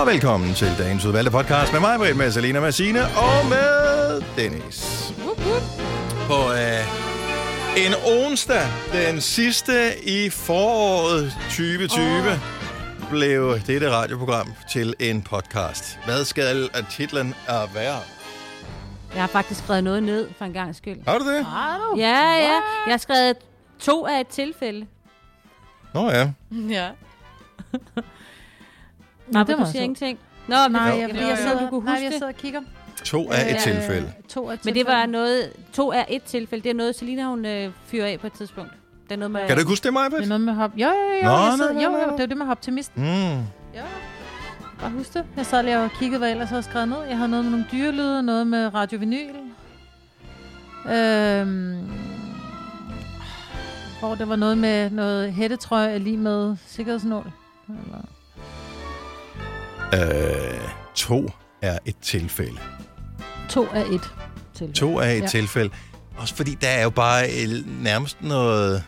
Og velkommen til dagens udvalgte podcast med mig, Britt, med Salina, med Signe og med Dennis. På øh, en onsdag, den sidste i foråret 2020, oh. blev dette radioprogram til en podcast. Hvad skal at titlen er være? Jeg har faktisk skrevet noget ned for en gang skyld. Har du det? Har du? Ja, ja. Jeg har skrevet to af et tilfælde. Nå ja. Ja. Nej, det det var du siger så. ingenting. Nå, men, Nej, Nej, Jo. jeg, jeg, jeg, jeg, jeg, jeg, sidder, sad, du kunne nej, huske jeg det. sidder og kigger. To af et tilfælde. Øh, to af Men det var noget, to af et tilfælde. Det er noget, Selina hun øh, fyrer af på et tidspunkt. Det er noget med... Kan du ikke huske det, Maja? Det er noget med hop. Jo, jo, jo. Nå, jeg nå, sad, nå, jo, nå, jo, nå. det var det med optimisten. Mm. Jo. Bare husk det. Jeg sad lige og kiggede, hvad jeg ellers havde skrevet ned. Jeg havde noget med nogle dyrelyde, noget med Radio Vinyl. Øhm, hvor det var noget med noget hættetrøje lige med sikkerhedsnål. Eller- Øh, to er et tilfælde. To af et. Til. To af et ja. Ja. tilfælde. Også fordi der er jo bare øh, nærmest noget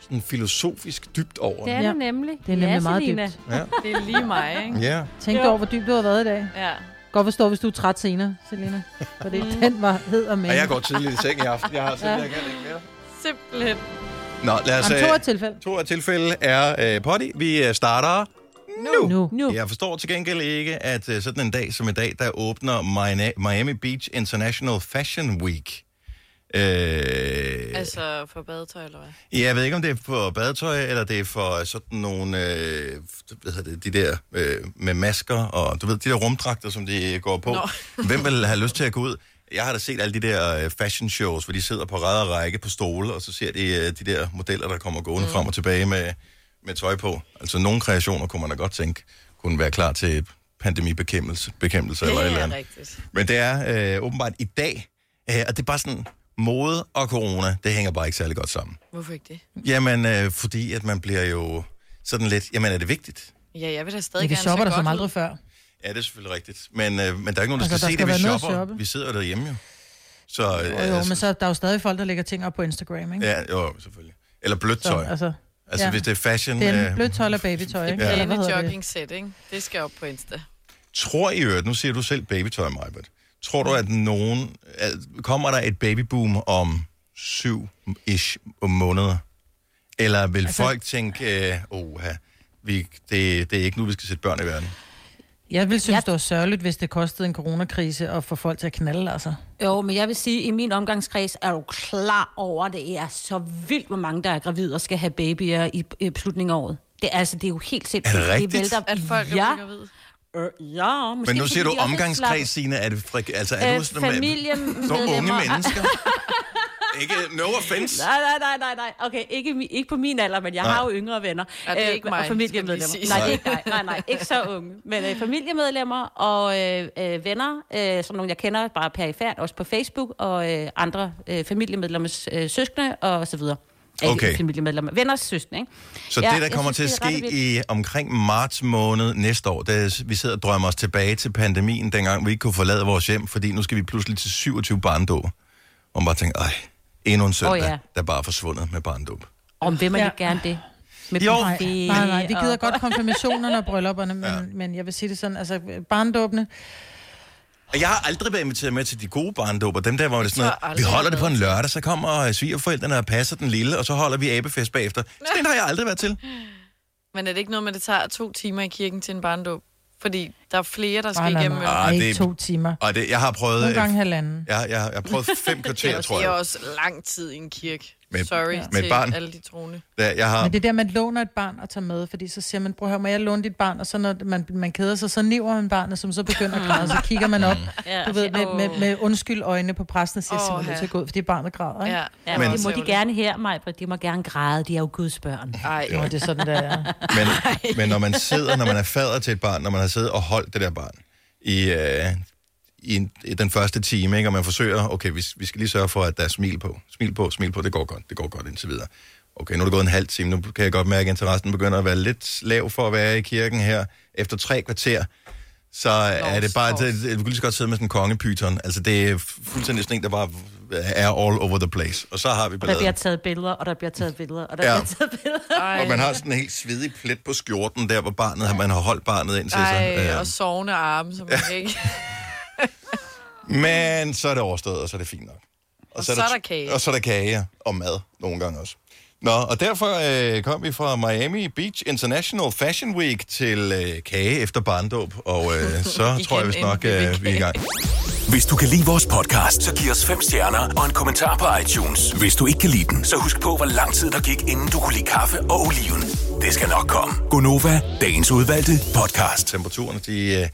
sådan filosofisk dybt over. Det det. er Ja. det nemlig. Det er nemlig ja, meget Selina. dybt. Ja. Det er lige mig, ikke? ja. Tænk Jo. over, hvor dybt du har været i dag. Ja. Godt forstå, hvis du er træt senere, Selina. For det, Mm. den var hed og med. Og jeg går tidligt i seng i aften. Jeg har simpelthen ja. ikke mere. Simpelthen. Nå, lad os... Om to øh, er tilfælde. To af tilfælde er øh, potty. Vi øh, starter nu. Nu. Nu. Jeg forstår til gengæld ikke, at øh, sådan en dag som i dag, der åbner Mina- Miami Beach International Fashion Week. Øh, Øh. altså. Altså for badetøj, eller hvad? Jeg ved ikke, om det er for badetøj, eller det er for sådan nogle, øh, hvad hedder det, de der øh, med masker, og du ved, de der rumdragter, som de går på. Nå. Hvem vil have lyst til at gå ud? Jeg har da set alle de der øh, fashion shows, hvor de sidder på ræd og række på stole, og så ser de øh, de der modeller, der kommer gående mm. frem og tilbage med, med tøj på. Altså nogle kreationer kunne man da godt tænke, kunne være klar til pandemibekæmpelse bekæmpelse eller et eller andet. rigtigt. Men det er øh, åbenbart i dag, øh, og det er bare sådan, mode og corona, det hænger bare ikke særlig godt sammen. Hvorfor ikke det? Jamen, øh, fordi at man bliver jo sådan lidt, jamen er det vigtigt? Ja, jeg vil da stadig Men vi gerne shopper der se som godt aldrig ud. før. Ja, det er selvfølgelig rigtigt. Men, øh, men der er ikke nogen, der Altså, skal, der se skal det, være vi noget at shopper. shoppe. Vi sidder jo derhjemme jo. Så, øh, Jo, jo, men så der er jo stadig folk, der lægger ting op på Instagram, ikke? Ja, jo, selvfølgelig. Eller blødt Så, tøj. Altså, altså, altså ja. hvis det er fashion... det er øh, en blødt tøj eller babytøj, ikke? Ja. Ja. Eller Pæne hvad hedder det? jogging set, ikke? Det skal op på Insta. Tror i øvrigt, nu siger du selv babytøj, Majbert. Tror du, at nogen... At, kommer der et babyboom om syv-ish måneder? Eller vil altså, folk tænke, øh, oha, vi, det, det er ikke nu, vi skal sætte børn i verden? Jeg vil synes, Ja. det var sørgeligt, hvis det kostede en coronakrise at få folk til at knalde, altså. Jo, men jeg vil sige, at i min omgangskreds er du klar over, at det er så vildt, hvor mange, der er gravide og skal have babyer i, i slutningen af året. Det, er altså, det er jo helt sindssygt. Er det rigtigt? vælter- At folk er ja, blevet gravide. øh, ja, måske Men nu fordi siger du de også er slappe. omgangskreds, Signe. Er det frik, altså, er Øh, du sådan, familiemedlemmer. Som unge mennesker. ikke, no offense. Nej, nej, nej, nej, nej. Okay, ikke, mi- ikke på min alder, men jeg Nej. nej. har jo yngre venner. Ja, det er ikke øh, mig, og familiemedlemmer. skal vi lige sige. Nej, det er ikke dig. Nej, nej, ikke så unge. Men øh, familiemedlemmer og øh, øh, venner, øh, som nogle jeg kender bare perifært, også på Facebook, og øh, andre øh, familiemedlemmers øh, søskende og så videre. Ikke Okay. Familiemedlemmer. Venners søskende, ikke? Så Ja, det, der jeg kommer synes, til at det er ret ske vildt. i omkring marts måned næste år, da vi sidder og drømmer os tilbage til pandemien, dengang vi ikke kunne forlade vores hjem, fordi nu skal vi pludselig til 27 barndåb. Og man bare tænker, ej, endnu en søndag, oh, ja. ja. der bare er forsvundet med barndåb. Om hvem man Ja. ja. ikke gerne det? Med Jo. Nej, buffet nej, nej, vi gider og- godt konfirmationerne og bryllupperne, men, ja. men jeg vil sige det sådan, altså barndåbne, Og jeg har aldrig været inviteret med til de gode barndåber. Dem der, hvor det er sådan tror noget, vi aldrig, holder det jeg på en lørdag, så kommer øh, svigerforældrene og passer den lille, og så holder vi abefest bagefter. Så den har jeg aldrig været til. Men er det ikke noget med, at det tager to timer i kirken til en barndåb? Fordi der er flere, der nej, skal nej, igennem. nej, jo. Ah, nej, det ikke er- to timer. Og det, jeg har prøvet... Nogle øh, gange halvanden. Jeg, jeg, jeg har prøvet fem kvarter, tror Det er jeg. også lang tid i en kirke. Med- Sorry Ja. med et til barn. alle de troende. Ja, jeg har, Men det er der, man låner et barn og tager med, fordi så siger man, prøv at høre, må jeg låne dit barn? Og så når man, man keder sig, så niver man barnet, som så begynder at græde, så kigger man op, Ja, du ved, med, med, med undskyld øjne på præsten og siger, Åh, oh, simpelthen ja. til at gå ud, fordi barnet græder, ikke? Ja, Ja, Men- men det må de gerne her, mig, de må gerne græde, de er jo Guds børn. Ej, Nå, det er sådan, der er. men, men når man sidder, når man er fader til et barn, når man har siddet og holdt det der barn i, øh, i, en, i den første time, ikke, og man forsøger, okay, vi, vi skal lige sørge for, at der er smil på. Smil på, smil på, det går godt, det går godt indtil videre. Okay, nu er det gået en halv time, nu kan jeg godt mærke, at interessen begynder at være lidt lav for at være i kirken her. Efter tre kvarter, så er det bare, det, du kan lige så godt sidde med sådan en kongepyton. Altså, det er fuldstændig sådan en, der bare er all over the place. Og så har vi Og der bliver balladen. taget billeder, og der bliver taget billeder, og der Ja. ja. bliver taget billeder. Ej, Og man har sådan en helt svedig plet på skjorten, der hvor barnet, man har holdt barnet ind til sig. ej, Øhm, og sovende arme, som man ikke... Men så er det overstået, og så er det fint nok. Og, så er der kage. Og så er der kage og mad nogle gange også. Nå, og derfor øh, kom vi fra Miami Beach International Fashion Week til øh, kage efter barndåb, og øh, så tror jeg vist Igen nok, en øh, vi er i gang. Hvis du kan lide vores podcast, så giv os fem stjerner og en kommentar på iTunes. Hvis du ikke kan lide den, så husk på, hvor lang tid der gik, inden du kunne lide kaffe og oliven. Det skal nok komme. Gonova, dagens udvalgte podcast. Temperaturen, de øh,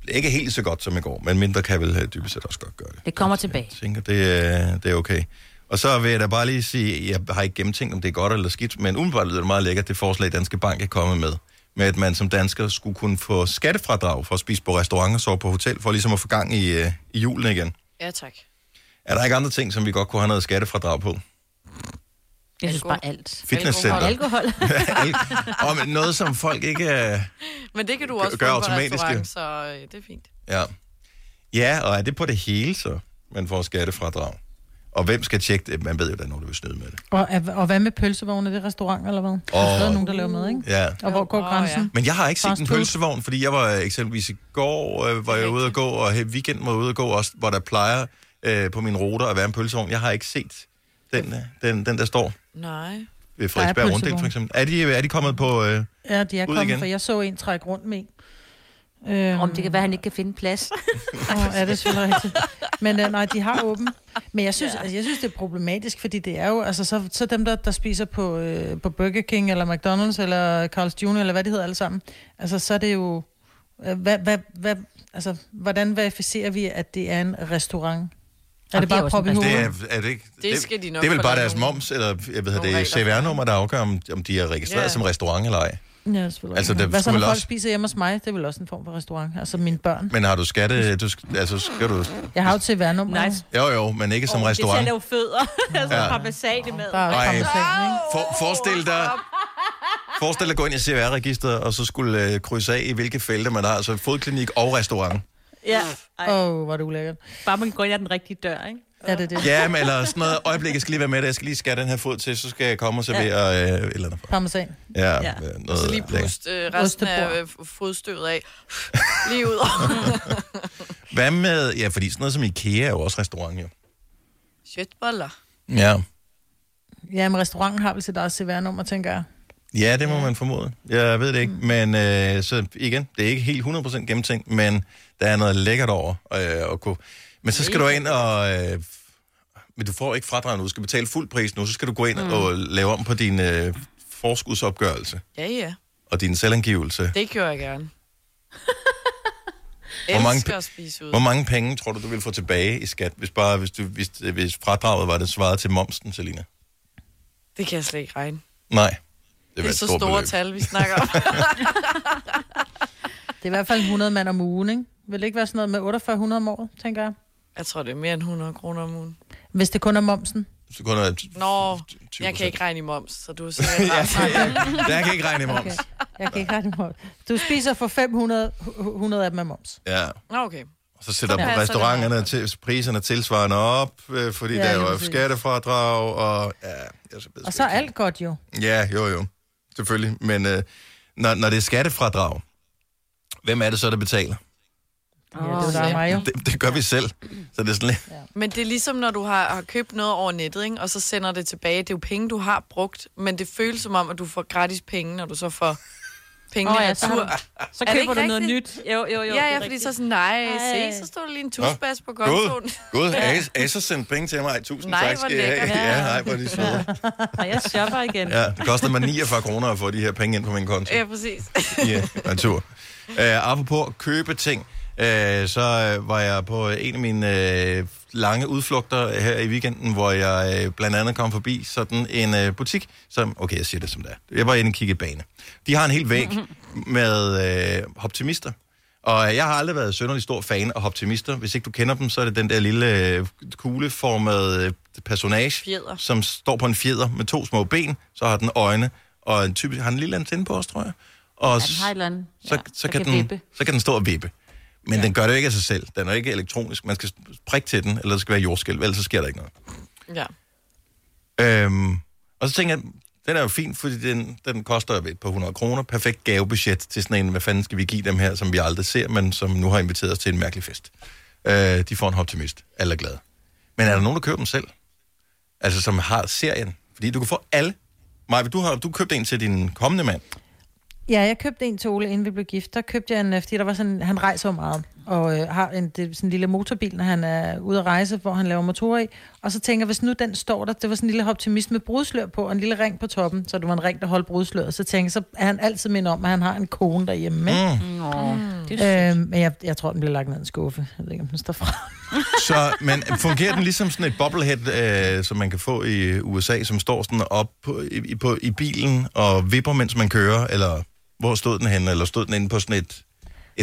bliver ikke helt så godt som i går, men mindre kan vel øh, dybest set også godt gøre det. Det kommer tilbage. Jeg tænker, det, øh, det er okay. Og så vil jeg da bare lige sige, jeg har ikke gennemtænkt, om det er godt eller skidt, men umiddelbart lyder det meget lækkert, det forslag Danske Bank er kommet med, med at man som dansker skulle kunne få skattefradrag for at spise på restaurant og sove på hotel, for ligesom at få gang i, øh, i julen igen. Ja, tak. Er der ikke andre ting, som vi godt kunne have noget skattefradrag på? Jeg synes bare alt. Og Fitnesscenter. alkohol. og men noget, som folk ikke... Øh, Men det kan du også gør få på automatisk, restaurant, jo. så øh, det er fint. ja. ja, og er det på det hele så, man får skattefradrag? Og hvem skal tjekke det? Man ved jo, der er nogen, der vil snyde med det. Og, er- og hvad med pølsevogne? Er det restaurant eller hvad? Der er Åh. stadig nogen, der laver mad, ikke? Ja. Og hvor går Åh, grænsen? Men jeg har ikke set Fast en food. pølsevogn, fordi jeg var øh, eksempelvis i går, øh, var jeg ude at gå, og her weekenden var jeg ude at gå også, hvor der plejer øh, på min ruter at være en pølsevogn. Jeg har ikke set den, øh, den, den der står Nej. ved Frederiksberg Runddel, pølsevogn. for eksempel. Er de, er de kommet på... Øh, Ja, de er Ud kommet, igen. for jeg så en trække rundt med en. Øhm, Om det kan være, at han ikke kan finde plads. Åh, ja, det er selvfølgelig rigtigt. Men øh, nej, de har åben. Men jeg synes, ja. altså, jeg synes, det er problematisk, fordi det er jo, altså så, så dem, der, der spiser på, øh, på Burger King, eller McDonald's, eller Carl's Jr., eller hvad det hedder alle sammen, altså så er det jo, øh, hvad, hvad, hvad, altså, hvordan verificerer vi, at det er en restaurant? Er Jamen, det det er bare også prop i en det hovedet? er, er det ikke... skal de nok Det er vel få bare lavet deres nogle- moms, eller jeg ved, nogle det er regler for. CVR-nummer, der afgør, om, om de er registreret Ja. som restaurant eller ej. Ja, selvfølgelig. Altså, Altså, det hvad så, skulle når vel folk også- spiser hjemme hos mig? Det er vel også en form for restaurant. Altså mine børn. Men har du skatte... Du, sk- altså, skal du... Jeg har jo til værnummer. Nice. Jo, jo, men ikke som Det er til at restaurant. lave fødder. altså, Ja. ja. har basale med. Der er jo Ej. kommet ting, ikke? For, forestil dig... Forestil dig at gå ind i CVR-registeret, og så skulle øh, krydse af, i hvilke felter man har. Så fodklinik og restaurant. Ja. Ej, Åh, oh, hvor er det ulækkert. bare man går ind ad den rigtige dør, ikke? Er det det? Ja, men eller sådan noget. Øjeblik, jeg skal lige være med det. Jeg skal lige skære den her fod til, så skal jeg komme og servere ja. øh, et eller andet. Parmesan. Ja, ja. Ja. Øh, Og noget så lige lækkert. pust øh, resten af øh, f- fodstøvet af. Lige ud. Hvad med... Ja, fordi sådan noget som IKEA er jo også restaurant, jo. Shitboller. Ja. Ja, men restauranten har vel sit eget CVR-nummer, tænker jeg. Ja, det må man formode. Jeg ved det Mm. ikke, men øh, så igen, det er ikke helt 100% gennemtænkt, men der er noget lækkert over øh, at kunne. Men så skal du ind og... Øh, f- men du får ikke fradrag nu, du skal betale fuld pris nu, så skal du gå ind mm. og lave om på din øh, forskudsopgørelse Ja, ja. og din selvangivelse. Det gør jeg gerne. Hvor mange Elsker pe- at spise ud. Hvor mange penge tror du, du ville få tilbage i skat, hvis, bare, hvis, du, hvis, hvis fradraget var det svaret til momsen, Selina? Det kan jeg slet ikke regne. Nej. var Det er, et så stort store beløb. tal, vi snakker om. Det er i hvert fald 100 mand om ugen, ikke? Vil det ikke være sådan noget med 4800 om året, tænker jeg? jeg tror, det er mere end 100 kroner om ugen. Hvis det kun er momsen. Så kun er t- Nå, 20 jeg kan ikke regne i moms, så du er sikkert ja, ret. jeg kan ikke regne i moms. Okay. Jeg kan ikke have det moms. Du spiser for 500 hu- hu- 100 af dem er moms. Ja. Nå, okay. Og så sætter Så passer ja, det restauranterne til, priserne tilsvarende op, øh, fordi ja, Ja, der er lige jo præcis. skattefradrag, og ja, jeg så ved Og sgu så er ikke. alt godt jo. Ja, jo jo, selvfølgelig. Men øh, når, når det er skattefradrag, hvem er det så, der betaler? Ja, det er ja. der mig jo. Det, det gør vi selv. Så det er sådan lidt, Men det er ligesom, når du har, har købt noget over nettet, ikke? og så sender det tilbage. Det er jo penge, du har brugt, men det føles som om, at du får gratis penge, når du så får pengene Åh, oh, ja, ja, så retur. Så Er det køber ikke du noget nyt. rigtigt? Jo, jo, jo. det Ja, er ja, fordi rigtigt. så er sådan, nej, Ej. se, så står der lige en tusbas på Gud, kontoen. gud, As, Acer sendte penge til mig. Ej, Tusind Nej, tak hvor skal I have. lækkert. Ja, nej, hvor er de søde. Og jeg shopper igen. Ja, det kostede mig 49 kroner at få de her penge ind på min konto. Ja, præcis. Ja, natur. Uh, apropos at købe ting, uh, så øh, var jeg på en af mine uh, lange udflugter her i weekenden, hvor jeg uh, blandt andet kom forbi sådan en uh, butik, som, okay, jeg siger det som det er. Jeg var inde og kigge i bane. De har en hel væg med uh, optimister. Og jeg har aldrig været sønderlig stor fan af optimister. Hvis ikke du kender dem, så er det den der lille øh, kugleformede øh, personage, Fjeder. som står på en fjeder med to små ben, så har den øjne, og en typisk har den en lille antenne på os, tror jeg. og Ja, den har et eller andet, så, så, ja, så, der kan kan den, vippe. så kan den stå og vippe. Men ja. den gør det jo ikke af sig selv. Den er ikke elektronisk. Man skal prikke til den, eller der skal være jordskælv, ellers så sker der ikke noget. Ja. Øhm, og så tænker jeg, den er jo fin, fordi den, den koster jo et par hundrede kroner. Perfekt gavebudget til sådan en, hvad fanden skal vi give dem her, som vi aldrig ser, men som nu har inviteret os til en mærkelig fest. Øh, de får en optimist. Alle er glade. Men er der nogen, der køber dem selv? Altså, som har serien? Fordi du kan få alle. Maja, du har du købt en til din kommende mand. Ja, jeg købte en til Ole, inden vi blev gift. Der købte jeg en, øh, fordi der var sådan, han rejser jo meget, og øh, har en, det, er sådan en lille motorbil, når han er ude at rejse, hvor han laver motorer i. Og så tænker jeg, hvis nu den står der, det var sådan en lille optimist med brudslør på, og en lille ring på toppen, så det var en ring, der holdt brudsløret. Så tænker jeg, så er han altid mindet om, at han har en kone derhjemme. Ikke? Nå, det er Mm. Øh, men jeg, jeg, tror, den bliver lagt ned i en skuffe. Jeg ved ikke, om den står fra. Så, men fungerer den ligesom sådan et bobblehead, øh, som man kan få i øh, USA, som står sådan op på, i, i- på, i bilen og vipper, mens man kører? Eller hvor stod den henne? Eller stod den inde på sådan et, et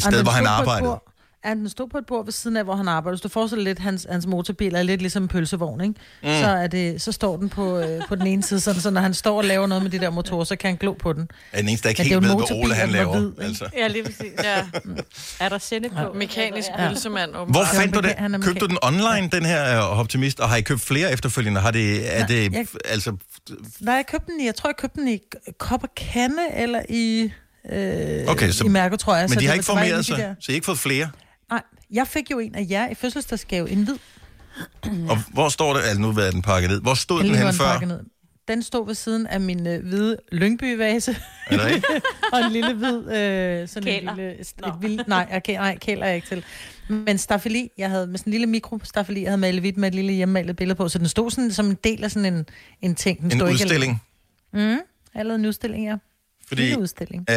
Og sted, den hvor stod han på et arbejdede? bord- Ja, den stod på et bord ved siden af, hvor han arbejder. Hvis du forestiller lidt, hans, hans motorbil er lidt ligesom en pølsevogn, ikke? Mm. Så, er det, så står den på, øh, på den ene side, sådan, så når han står og laver noget med de der motorer, så kan han glo på den. Er den eneste, der ikke Men det er helt ved, jo en hvad Ole motorbil, han den var laver. hvid, ikke? altså. Ja, lige præcis. ja. Mm. Er der sende på? Mekanisk Ja. pølsemand, åbenbart. Hvor er fandt du meka- den? han er Købte du den online, den her øh, optimist? Og har I købt flere efterfølgende? Har det, er Nej, det, jeg- altså, Nej, jeg købte den i, jeg tror, jeg købte den i k- kop og kande, eller i, øh, Okay, så- i mærke, tror jeg. men de det har var- ikke det var en af formeret de der- sig, så I har ikke fået flere? Nej, jeg fik jo en af jer i fødselsdagsgave, en hvid. Og hvor står det? Altså, nu er den pakket ned. Hvor stod den Heldigvis var henne den før? pakket ned. Den stod ved siden af min øh, hvide Lyngby-vase. Er der ikke? og en lille hvid... Øh, sådan Kæler. En lille, et Nå. lille, nej, okay, nej, kæler er jeg ikke til. Men staffeli, jeg havde med sådan en lille mikrostafeli, jeg havde malet hvidt med et lille hjemmemalet billede på, så den stod sådan, som en del af sådan en, en ting. Den En stod udstilling? Ikke, allerede Mm, en udstilling, ja. Fordi Lille udstilling. Øh,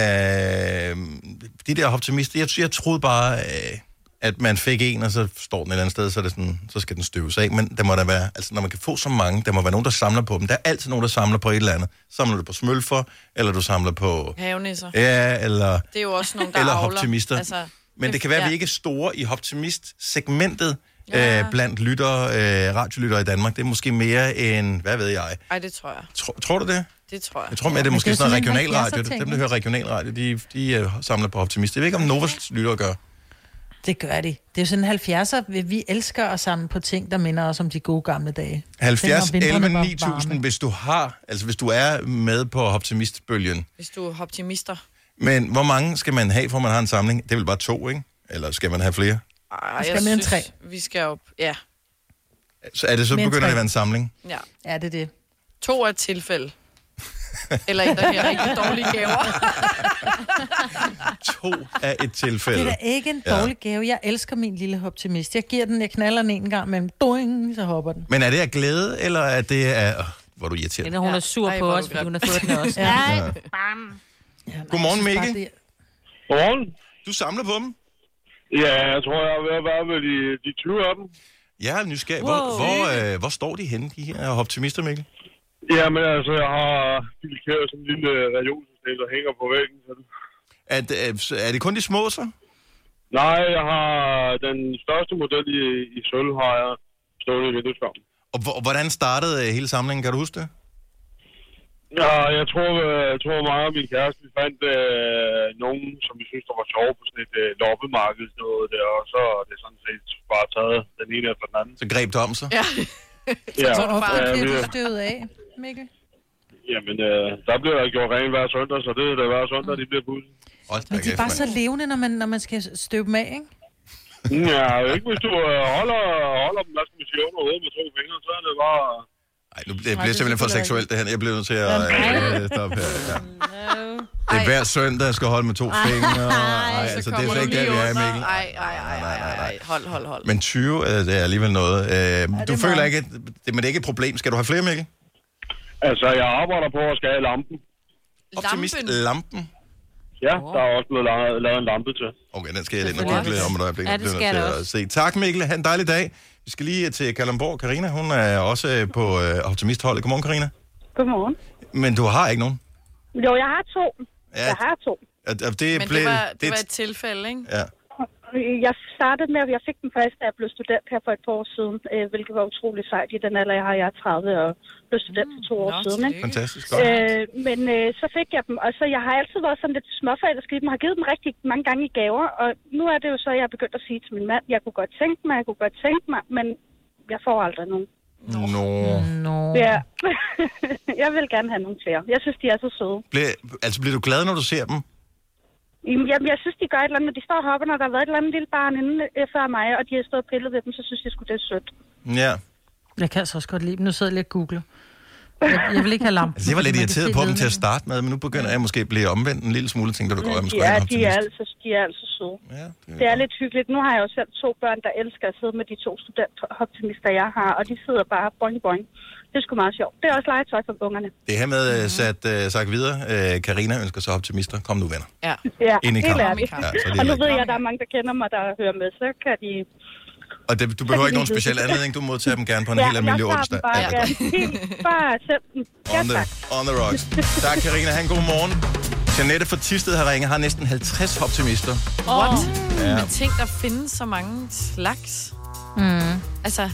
de der optimister, jeg, jeg troede bare, øh, at man fik en, og så står den et eller andet sted, så, er det sådan, så skal den støves af. Men der må der være, altså når man kan få så mange, der må være nogen, der samler på dem. Der er altid nogen, der samler på et eller andet. Samler du på smølfer, eller du samler på... Havenisser. Ja, eller... altså. Det er jo også nogle, der Eller avler. optimister. Altså, Men det kan være, at vi ikke er store i optimist-segmentet øh, blandt lyttere, øh, radiolyttere i Danmark. Det er måske mere end, hvad ved jeg. Ej, det tror jeg. Tro, tror du det? Det tror jeg. Jeg tror mere, det er Men måske det er sådan noget sådan en regionalradio. 70'er-ting, Dem, der hører regionalradio, de, de øh, samler på optimist. Jeg ved ikke, om Novas lytter gør. Det gør de. Det er jo sådan 70'er, vi- vi elsker at samle på ting, der minder os om de gode gamle dage. 70, Dengang vintrene 11, var 9000, varme. hvis du har, altså hvis du er med på optimistbølgen. Hvis du er optimister. Men hvor mange skal man have, for man har en samling? Det er vel bare to, ikke? Eller skal man have flere? Ej, skal jeg mere end synes, tre. Vi skal op. Ja, Så er det så Men begynder det tre. at være en samling? ja. Ja, det er det. To er et tilfælde. Eller en, der giver rigtig dårlige gaver. To er et Det er tilfælde. da ikke en Ja. dårlig gave. Jeg elsker min lille optimist. Jeg giver den, jeg knaller den en gang, men doing, så hopper den. Men er det af glæde, eller er det af... Åh, Hvor er du irriterende. Eller hun er Ja. sur Ej, på hvor er os, du fordi grim. hun har fået den også. Ja. Godmorgen, Jeg synes bare, Mikkel. det er- Godmorgen. Du samler på dem? Ja, jeg tror, jeg er ved at være ved de, de 20 af dem. Jeg er nysgerrig. Wow. Hvor, hvor, øh, hvor står de henne, de her optimister, Mikkel? Jamen altså, jeg har bilkæret sådan en lille reolsystem, der hænger på væggen. Så den. Er, det- er, er det kun de små, så? Nej, jeg har den største model i, i sølv, har jeg stået i vindueskampen. Og hvor- hvordan startede øh, hele samlingen, kan du huske det? Ja, jeg tror, øh, jeg tror mig og min kæreste, vi fandt øh, nogen, som vi synes, der var sjove på sådan et øh, loppemarked, sådan noget der, og så er det sådan set bare taget den ene efter den anden. Så greb det om sig. Ja, Ja, Hvor ofte ja, bliver vi, du støvet af, Mikkel? jamen, øh, der bliver der gjort rent hver søndag, så det er da hver søndag, de bliver pudset. Hold da Men de er kæft, bare mand. så levende, når man, når man skal støbe dem af, ikke? Ja, ikke hvis du øh, holder, holder dem, lad os sige, under hovedet med to fingre, så er det bare... Ej, nu bliver det simpelthen for seksuelt, det her. Jeg bliver nødt til at øh, stoppe her. Ja. Det er hver søndag, jeg skal holde med to fingre. Nej, altså, det er slet ikke der, vi er, Mikkel. Ej, ej, ej, ej, ej, ej. Hold, hold, hold. Men 20, øh, det er alligevel noget. Øh, du er føler meget. ikke, at det, men det er ikke et problem. Skal du have flere, Mikkel? Altså, jeg arbejder på at skære lampen. Optimist Lampen. lampen. Ja, der er også blevet lavet, lavet en lampe til. Okay, den skal jeg ind og Selvfølgelig. google om et øjeblik. Ja, det Den bliver skal jeg nødt da til at se. Tak, Mikkel. Ha' en dejlig dag. Vi skal lige øh, til Kalamborg. Karina, hun er også øh, på øh, optimistholdet. Godmorgen, Karina. Godmorgen. Men du har ikke nogen. Jo, jeg har to. Ja, Jeg har to. og- og det, Men blev, det var, det det- var et tilfælde, ikke? Ja. jeg startede med, at jeg fik den først, da jeg blev student her for et par år siden, øh, hvilket var utrolig sejt i den alder, jeg har. Jeg er 30 og blev student for to år Mm, Nå, siden. tillykke. Fantastisk godt. Øh, men øh, så fik jeg dem, og så jeg har altid været sådan lidt småforældersk i dem, har givet dem rigtig mange gange i gaver, og nu er det jo så, at jeg er begyndt at sige til min mand, jeg kunne godt tænke mig, jeg kunne godt tænke mig, men jeg får aldrig nogen. Nå. Nå. Ja. jeg vil gerne have nogle flere. Jeg synes, de er så søde. Bliver, altså, bliver du glad, når du ser dem? Jamen, jeg, jeg synes, de gør et eller andet, når de står og hopper, når der har været et eller andet lille barn inden øh, før mig, og de har stået og pillet ved dem, så synes jeg sgu, det er sødt. Ja. Jeg kan altså også godt lide dem. Nu sidder jeg lige og googler. Jeg, jeg vil ikke have lampen. Altså, jeg var lidt fordi man kan irriteret se på dem til ledningen. at starte med, men nu begynder jeg måske at blive omvendt en lille smule. Tænker du går, jeg måske Ja, de er, optimist. altså, de er altså søde. Ja, det Det er er lidt hyggeligt. Nu har jeg jo selv to børn, der elsker at sidde med de to studentoptimister, jeg har, og de sidder bare boing boing. Det er sgu meget sjovt. Det er også legetøj for ungerne. det her med Mhm. øh, sat øh, sagt videre. Øh, Karina ønsker sig optimister. Kom nu, venner. Ja. Ja, Ind i helt kampen. ærligt. Ja, så er det Og nu heller ikke- ved jeg, at der er mange, der kender mig, der hører med, så kan de... Og det, du behøver ikke nogen speciel anledning. Du modtager dem gerne på en helt almindelig jeg tager onsdag. dem bare, Ja, ja. Helt bare selv. Ja, on, the, tak. on the rocks. Tak, Karina. Han god morgen. Janette fra Tisted har ringet, har næsten 50 optimister. What? Ja. Ja. Men tænk, der findes så mange slags. Mm. Altså,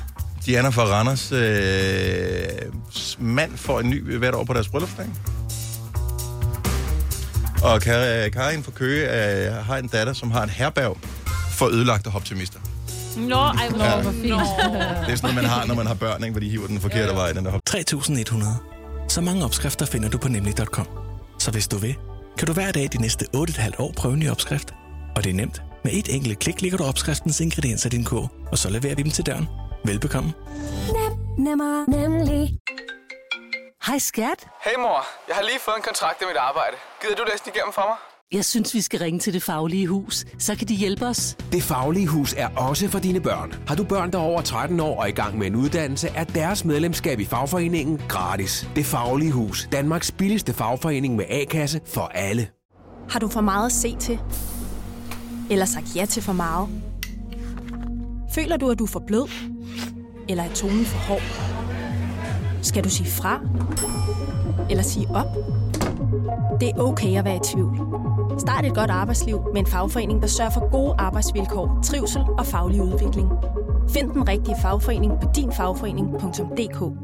Diana fra Randers øh, mand får en ny hvert år på deres bryllupsdag. Og Kar- Karin fra Køge øh, har en datter, som har et herberg for ødelagte optimister. Nå, ej, hvor Ja. ja. fint. Det er sådan noget, man har, når man har børn, ikke? hvor de hiver den forkerte vej. Den der hop- 3100. Så mange opskrifter finder du på nemlig.com. Så hvis du vil, kan du hver dag de næste 8,5 år prøve en ny opskrift. Og det er nemt. Med et enkelt klik ligger du opskriftens ingredienser i din kog, og så leverer vi dem til døren. Velbekomme. Nemmer, nemlig. Hej skat. Hey mor, jeg har lige fået en kontrakt med mit arbejde. Gider du læse den igennem for mig? Jeg synes, vi skal ringe til Det Faglige Hus. Så kan de hjælpe os. Det Faglige Hus er også for dine børn. Har du børn, der er over 13 år og i gang med en uddannelse, er deres medlemskab i fagforeningen gratis. Det Faglige Hus. Danmarks billigste fagforening med A-kasse for alle. Har du for meget at se til? Eller sagt ja til for meget? Føler du, at du er for blød? Eller er tonen for hård? Skal du sige fra? Eller sige op? Det er okay at være i tvivl. Start et godt arbejdsliv med en fagforening, der sørger for gode arbejdsvilkår, trivsel og faglig udvikling. Find den rigtige fagforening på dinfagforening.dk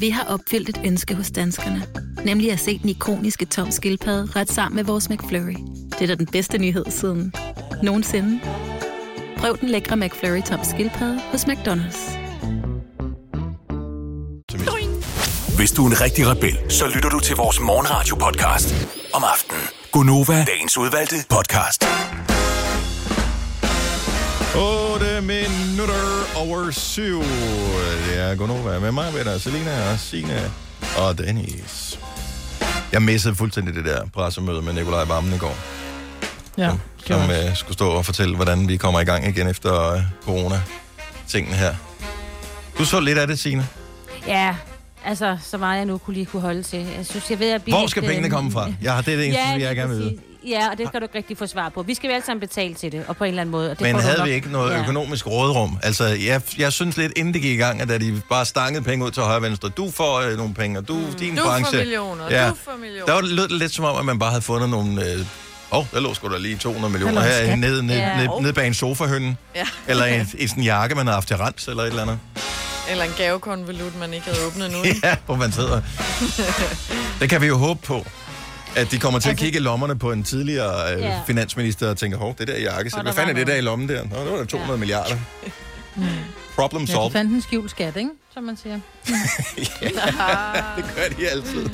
Vi har opfyldt et ønske hos danskerne. Nemlig at se den ikoniske tom skildpadde ret sammen med vores McFlurry. Det er da den bedste nyhed siden nogensinde. Prøv den lækre McFlurry tom skildpadde hos McDonald's. optimist. Hvis du er en rigtig rebel, så lytter du til vores morgenradio-podcast om aftenen. Gonova, dagens udvalgte podcast. 8 minutter over 7. Det er Gunova med mig, Peter, Selina og Signe og Dennis. Jeg missede fuldstændig det der pressemøde med Nikolaj Vammen i går, Ja, det som var- øh, skulle stå og fortælle, hvordan vi kommer i gang igen efter øh, corona-tingene her. Du så lidt af det, Signe. Ja, altså, så meget jeg nu kunne lige kunne holde til. Jeg synes, jeg ved at blive... Hvor skal pengene komme fra? Ja, det er det eneste, lige jeg gerne vil vide. præcis. Ja, og det kan du ikke rigtig få svar på. Vi skal jo alle sammen betale til det, og på en eller anden måde. Og det Men får du havde nok- vi ikke noget Ja. økonomisk rådrum? Altså, jeg, jeg synes lidt, inden det gik i gang, at da de bare stangede penge ud til højre og venstre. Du får øh, nogle penge, og du, mm. din du branche. får millioner, Ja. ja. du får millioner. Der var det, lød det lidt som om, at man bare havde fundet nogle... Åh, øh, oh, der lå sgu da lige 200 millioner Eller en her skat. nede, ned, Ja. ned, ned bag en sofahønne. Ja. Eller en, i sådan en jakke, man har haft til rens, eller et eller andet. Eller en gavekonvolut, man ikke havde åbnet nu. Ja, hvor man sidder. Det kan vi jo håbe på, at de kommer til at Altså- kigge i lommerne på en tidligere øh, Ja. finansminister og tænker, hov, det der jakke, så Og hvad der fanden er var det der i lommen der? Nå, det var da 200 ja. milliarder. Mm. Problem Ja, de solved. fandt en skjult skat, ikke? Som man siger. det gør de altid.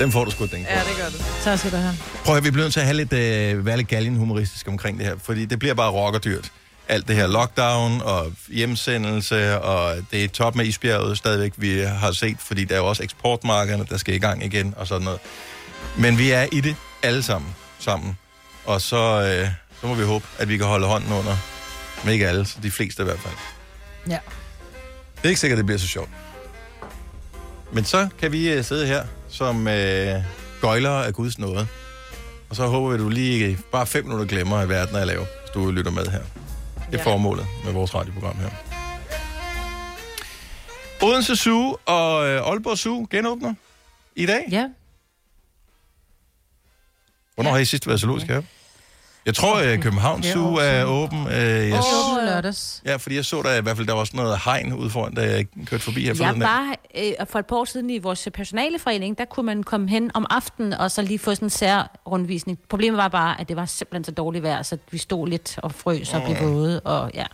Dem får du sgu at tænke på. Ja, det gør det. Så skal du have. Prøv at høre, vi bliver nødt til at have lidt, øh, være lidt galgenhumoristisk omkring det her, fordi det bliver bare rockerdyrt. Alt det her lockdown og hjemsendelse, og det er top med isbjerget stadigvæk, vi har set, fordi der er jo også eksportmarkederne, der skal i gang igen og sådan noget. Men vi er i det alle sammen, sammen. Og så, øh, så må vi håbe, at vi kan holde hånden under, men ikke alle, så de fleste i hvert fald. Ja. Det er ikke sikkert, det bliver så sjovt. Men så kan vi øh, sidde her som øh, gøjlere af Guds nåde. Og så håber vi, at du lige øh, bare fem minutter glemmer, at verden er lav, hvis du lytter med her. Det er Ja. formålet med vores radioprogram her. Odense Zoo og øh, Aalborg Zoo genåbner i dag. Ja. Hvornår har I sidst været zoologisk her? Jeg tror, at Københavns Ja, Zoo er åben. Øh, Jeg jeg, åbner lørdags. ja, fordi jeg så der i hvert fald, der var sådan noget hegn ude foran, da jeg kørte forbi her Jeg forleden. dag. var øh, for et par år siden i vores personaleforening, der kunne man komme hen om aftenen og så lige få sådan en særrundvisning. Problemet var bare, at det var simpelthen så dårligt vejr, så vi stod lidt og frøs og blev Mm. våde. Og, ja.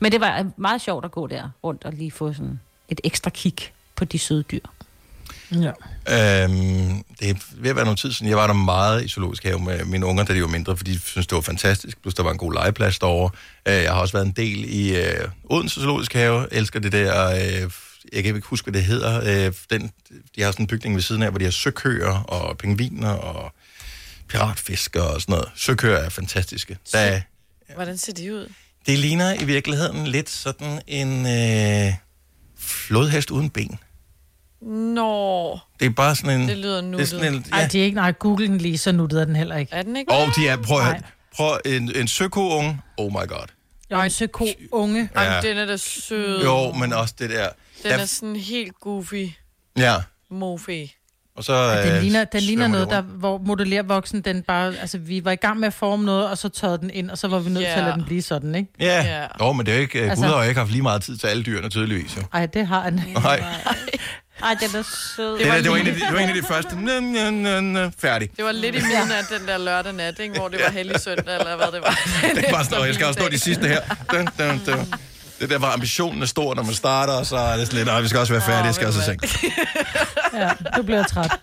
Men det var øh, meget sjovt at gå der rundt og lige få sådan et ekstra kig på de søde dyr. Ja. Øhm, det er ved at være noget tid siden. Jeg var der meget i zoologisk have med mine unger, da de var mindre, fordi de syntes, det var fantastisk. Plus, der var en god legeplads derovre. Øh, jeg har også været en del i øh, Odense Zoologisk Have. elsker det der... Øh, jeg kan ikke huske, hvad det hedder. Øh, den, de har sådan en bygning ved siden af, hvor de har søkøer og pingviner og piratfisker og sådan noget. Søkøer er fantastiske. Der, er- Hvordan ser de ud? det ligner i virkeligheden lidt sådan en øh, flodhest uden ben. Nå, Det er bare sådan en... det lyder det er nuttet. sådan en, Ej, de er ikke... Nej, google den lige, så nuttet er den heller ikke. Er den ikke? Og de er, prøv at høre, Nej. prøv, en, en søkounge, oh my god. Jo, en søko unge. Ja. Jamen, den er da sød. Jo, men også det der. Den der er sådan helt goofy, ja, mofi. og så... Ja, den øh, ligner, den svømmer ligner de noget, der, rundt. hvor modellervoksen, den bare... Altså, vi var i gang med at forme noget, og så tørrede den ind, og så var vi nødt yeah. til at lade Ja. den blive sådan, ikke? Ja, Ja. jo, men det er jo ikke... Altså... Altså- Gud har jo ikke haft lige meget tid til alle dyrene, tydeligvis. Jo. Ej, det har den. Nej, Ej, den er sød. det, der, det, var en af de, det var en af de første. Næ, næ, næ, næ, færdig. Det var lidt i midnat, den der lørdag nat, ikke? hvor det var hellig søndag, eller hvad det var. Det var sådan, "Nå, jeg skal også nå de sidste her. Dun, dun, dun. Det der var ambitionen er stor, når man starter, og så er det sådan lidt, "Ej, vi skal også være færdige, jeg skal også sænke. Ja, du bliver træt.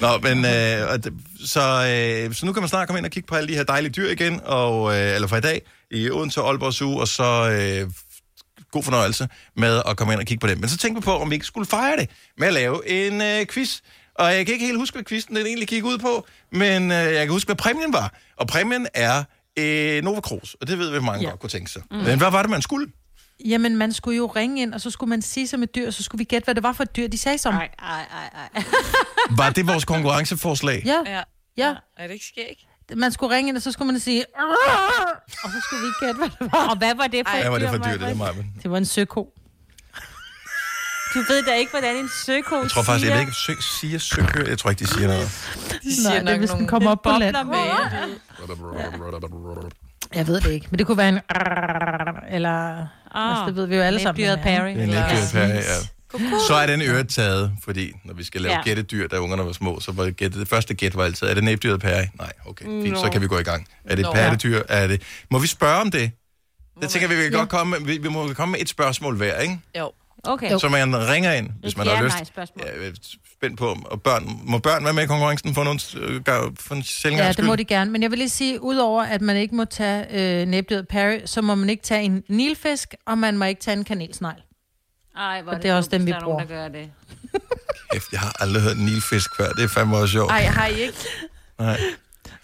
Nå, men øh, og det- så, øh, så nu kan man snart komme ind og kigge på alle de her dejlige dyr igen, og, øh, eller fra i dag, i Odense og Aalborg Zoo, og så øh, god fornøjelse med at komme ind og kigge på dem. Men så tænkte vi på, om vi ikke skulle fejre det med at lave en øh, quiz. Og jeg kan ikke helt huske, hvad quizzen den egentlig gik ud på, men øh, jeg kan huske, hvad præmien var. Og præmien er øh, Nova Cruz, og det ved vi, hvor mange ja. Ja. godt kunne tænke sig. Mm. Men hvad var det, man skulle? Jamen, man skulle jo ringe ind, og så skulle man sige som et dyr, og så skulle vi gætte, hvad det var for et dyr, de sagde som. Ej, ej, ej, ej. Var det vores konkurrenceforslag? Ja, Ja. ja. Er det ikke skæg? Man skulle ringe ind, og så skulle man sige... "Arr!" Og så skulle vi gætte, hvad det var. Og hvad var det for Hvad et var det for dyr, dyr, det der, Maja? Maja? Jeg Det var en søko. Du ved da ikke, hvordan en søko Jeg tror faktisk, jeg ved ikke, sø, siger søkøer. Jeg tror ikke, de siger noget. De Nej, det er, hvis den kommer op på land. bobler med. Jeg ved det ikke, men det kunne være en... Eller... Ah, altså, det ved vi jo alle sammen. Dyret hvad er. Perry. Det er en Ja. ægte pære, ja. Så er den øret taget, fordi når vi skal lave ja. Ja. gættedyr, da ungerne var små, så var gætte, det første gæt var altid, er det næbdyret pære? Nej, okay, fint, så Nå. kan vi gå i gang. Er det et Nå. pattedyr? Er det... Må vi spørge om det? Det tænker vi, vi kan Ja. godt komme med. Vi, vi må komme med et spørgsmål hver, ikke? Jo. Okay. Så man ringer ind, hvis Et man har lyst. ja-nej-spørgsmål. Ja, jeg er spændt på, og børn, må børn være med i konkurrencen for, nogen, øh, gør- for en sjældent Ja, gangs det må skyld? de gerne. Men jeg vil lige sige, udover at man ikke må tage øh, næbdyret Perry, så må man ikke tage en nilfisk, og man må ikke tage en kanelsnegl. Ej, hvor Og det er også dumt, dem, vi der er nogen, der bruger. gør det. Kæft, Jeg har aldrig hørt en nilfisk før, det er fandme også sjovt. Ej, har I ikke? Nej.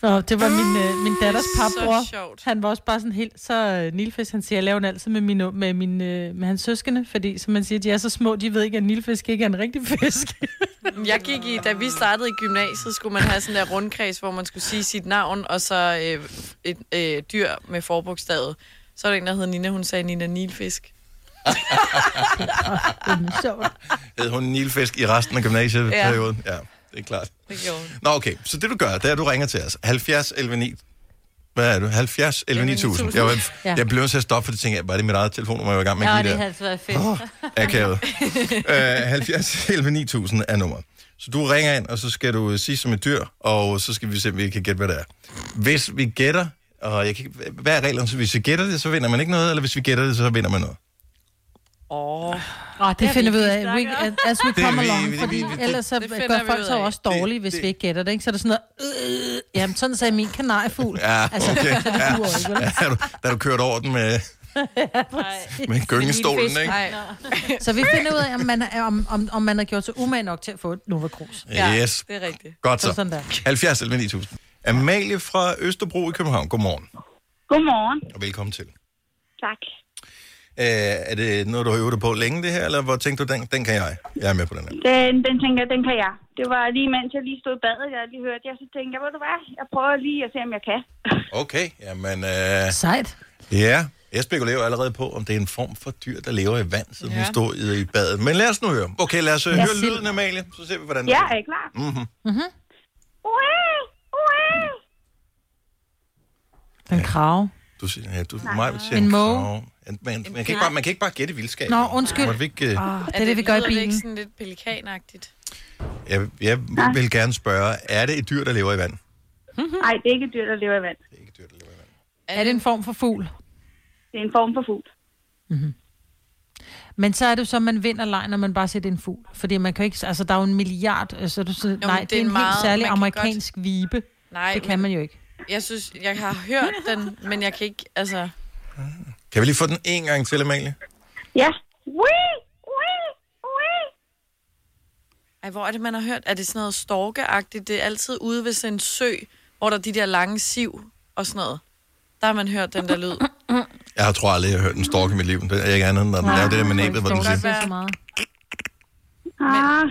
Nå, det var min, øh, min datters Så papbror. sjovt. Han var også bare sådan helt, så øh, nilfisk, han siger, jeg laver den altid med, min, med, min, øh, med hans søskende, fordi som man siger, de er så små, de ved ikke, at nilfisk ikke er en rigtig fisk. Jeg gik i, da vi startede i gymnasiet, skulle man have sådan der rundkreds, hvor man skulle sige sit navn, og så øh, et øh, dyr med forbogstavet. Så var der en, der hed Nina, hun sagde Nina Nilfisk. så, Hed hun en nilfisk i resten af gymnasieperioden? Ja. ja, det er klart. Det gjorde hun. Nå, okay. Så det, du gør, det er, at du ringer til os. 70 11 9. Hvad er du? 70 11 9000. Jeg, var, Ja. jeg blev nødt til at stoppe, for det tænkte jeg, var det mit eget telefonnummer, jeg var i gang med Ja, lige det der? havde altså været fedt. Åh, akavet. uh, 70 11 9000 er nummer. Så du ringer ind, og så skal du øh, sige som et dyr, og så skal vi se, om vi kan gætte, hvad det er. Hvis vi gætter, og jeg kan, ikke- hvad er reglerne? Så hvis vi gætter det, så vinder man ikke noget, eller hvis vi gætter det, så vinder man noget. Åh, Åh, det finder vi ud af, ikke we, uh, snakket as we Det er come vi- along, vi- fordi vi- det- ellers så det finder gør vi folk ud sig af. også dårlige, hvis det- vi ikke gætter det, ikke? Så er det sådan noget, øh, jamen sådan sagde min kanariefugl. Ja, Altså, okay. så er det sur, ikke? Ja, da du, da du kørt over den med, med gyngestolen, ikke? nej. Så vi finder ud af, om man, er, om, om, om man har gjort sig umage nok til at få et Nova Cruz. Ja, Yes. det er rigtigt. Godt Så så. sådan der. 70 11 9000. Amalie fra Østerbro i København. Godmorgen, Godmorgen. og velkommen til. Tak. Øh, er det noget, du har øvet dig på længe, det her, eller hvor tænkte du, den, den kan jeg? Jeg er med på den her. Den, den tænker jeg, den kan jeg. Det var lige mens jeg lige stod i badet, jeg lige hørte jer, så tænkte jeg, hvor du hvad, jeg prøver lige at se, om jeg kan. Okay, jamen, øh, Sejt. ja. Jeg spekulerer jo allerede på, om det er en form for dyr, der lever i vand, siden ja. hun Ja. stod i, i badet. Men lad os nu høre. Okay, lad os øh, høre sild. lyden, Amalie, så ser vi, hvordan Mhm. Ja, Mhm. det er er. I klar? Mm-hmm. Ue! Ue! En krav. Du siger, ja, du, mig, siger En måge. krav. En- Man, man, kan ikke bare, man kan ikke bare gætte vildskab. Nå, undskyld. Må vi ikke, øh, Ah, det er det, vi gør i lyder bilen. ikke sådan lidt pelikanagtigt. jeg, jeg vil gerne spørge, er det et dyr, der lever i vand? Mhm. Nej, det er ikke et dyr, der lever i vand. Er det en form for fugl? Det er en form for fugl. Men så er det jo så, at man vinder leg, når man bare siger, det er en fugl. Fordi man kan jo ikke... Altså, der er jo en milliard... Altså, du, siger, nej, men det er en meget, helt særlig man kan amerikansk godt... vibe. Nej, det kan men- man jo ikke. Jeg synes, jeg har hørt den, men jeg kan ikke, altså... Kan vi lige få den en gang til, Amalie? Ja. Wee! Wee! Wee! Ej, hvor er det, man har hørt? Er det sådan noget storkeagtigt? Det er altid ude ved sådan en sø, hvor der er de der lange siv og sådan noget. Der har man hørt den der lyd. Jeg har tror aldrig, jeg har hørt en stork i mit liv. Det er ikke andet, end at den Nej, laver det der med det er næbet, hvor ikke den stork. siger. så meget. Ah,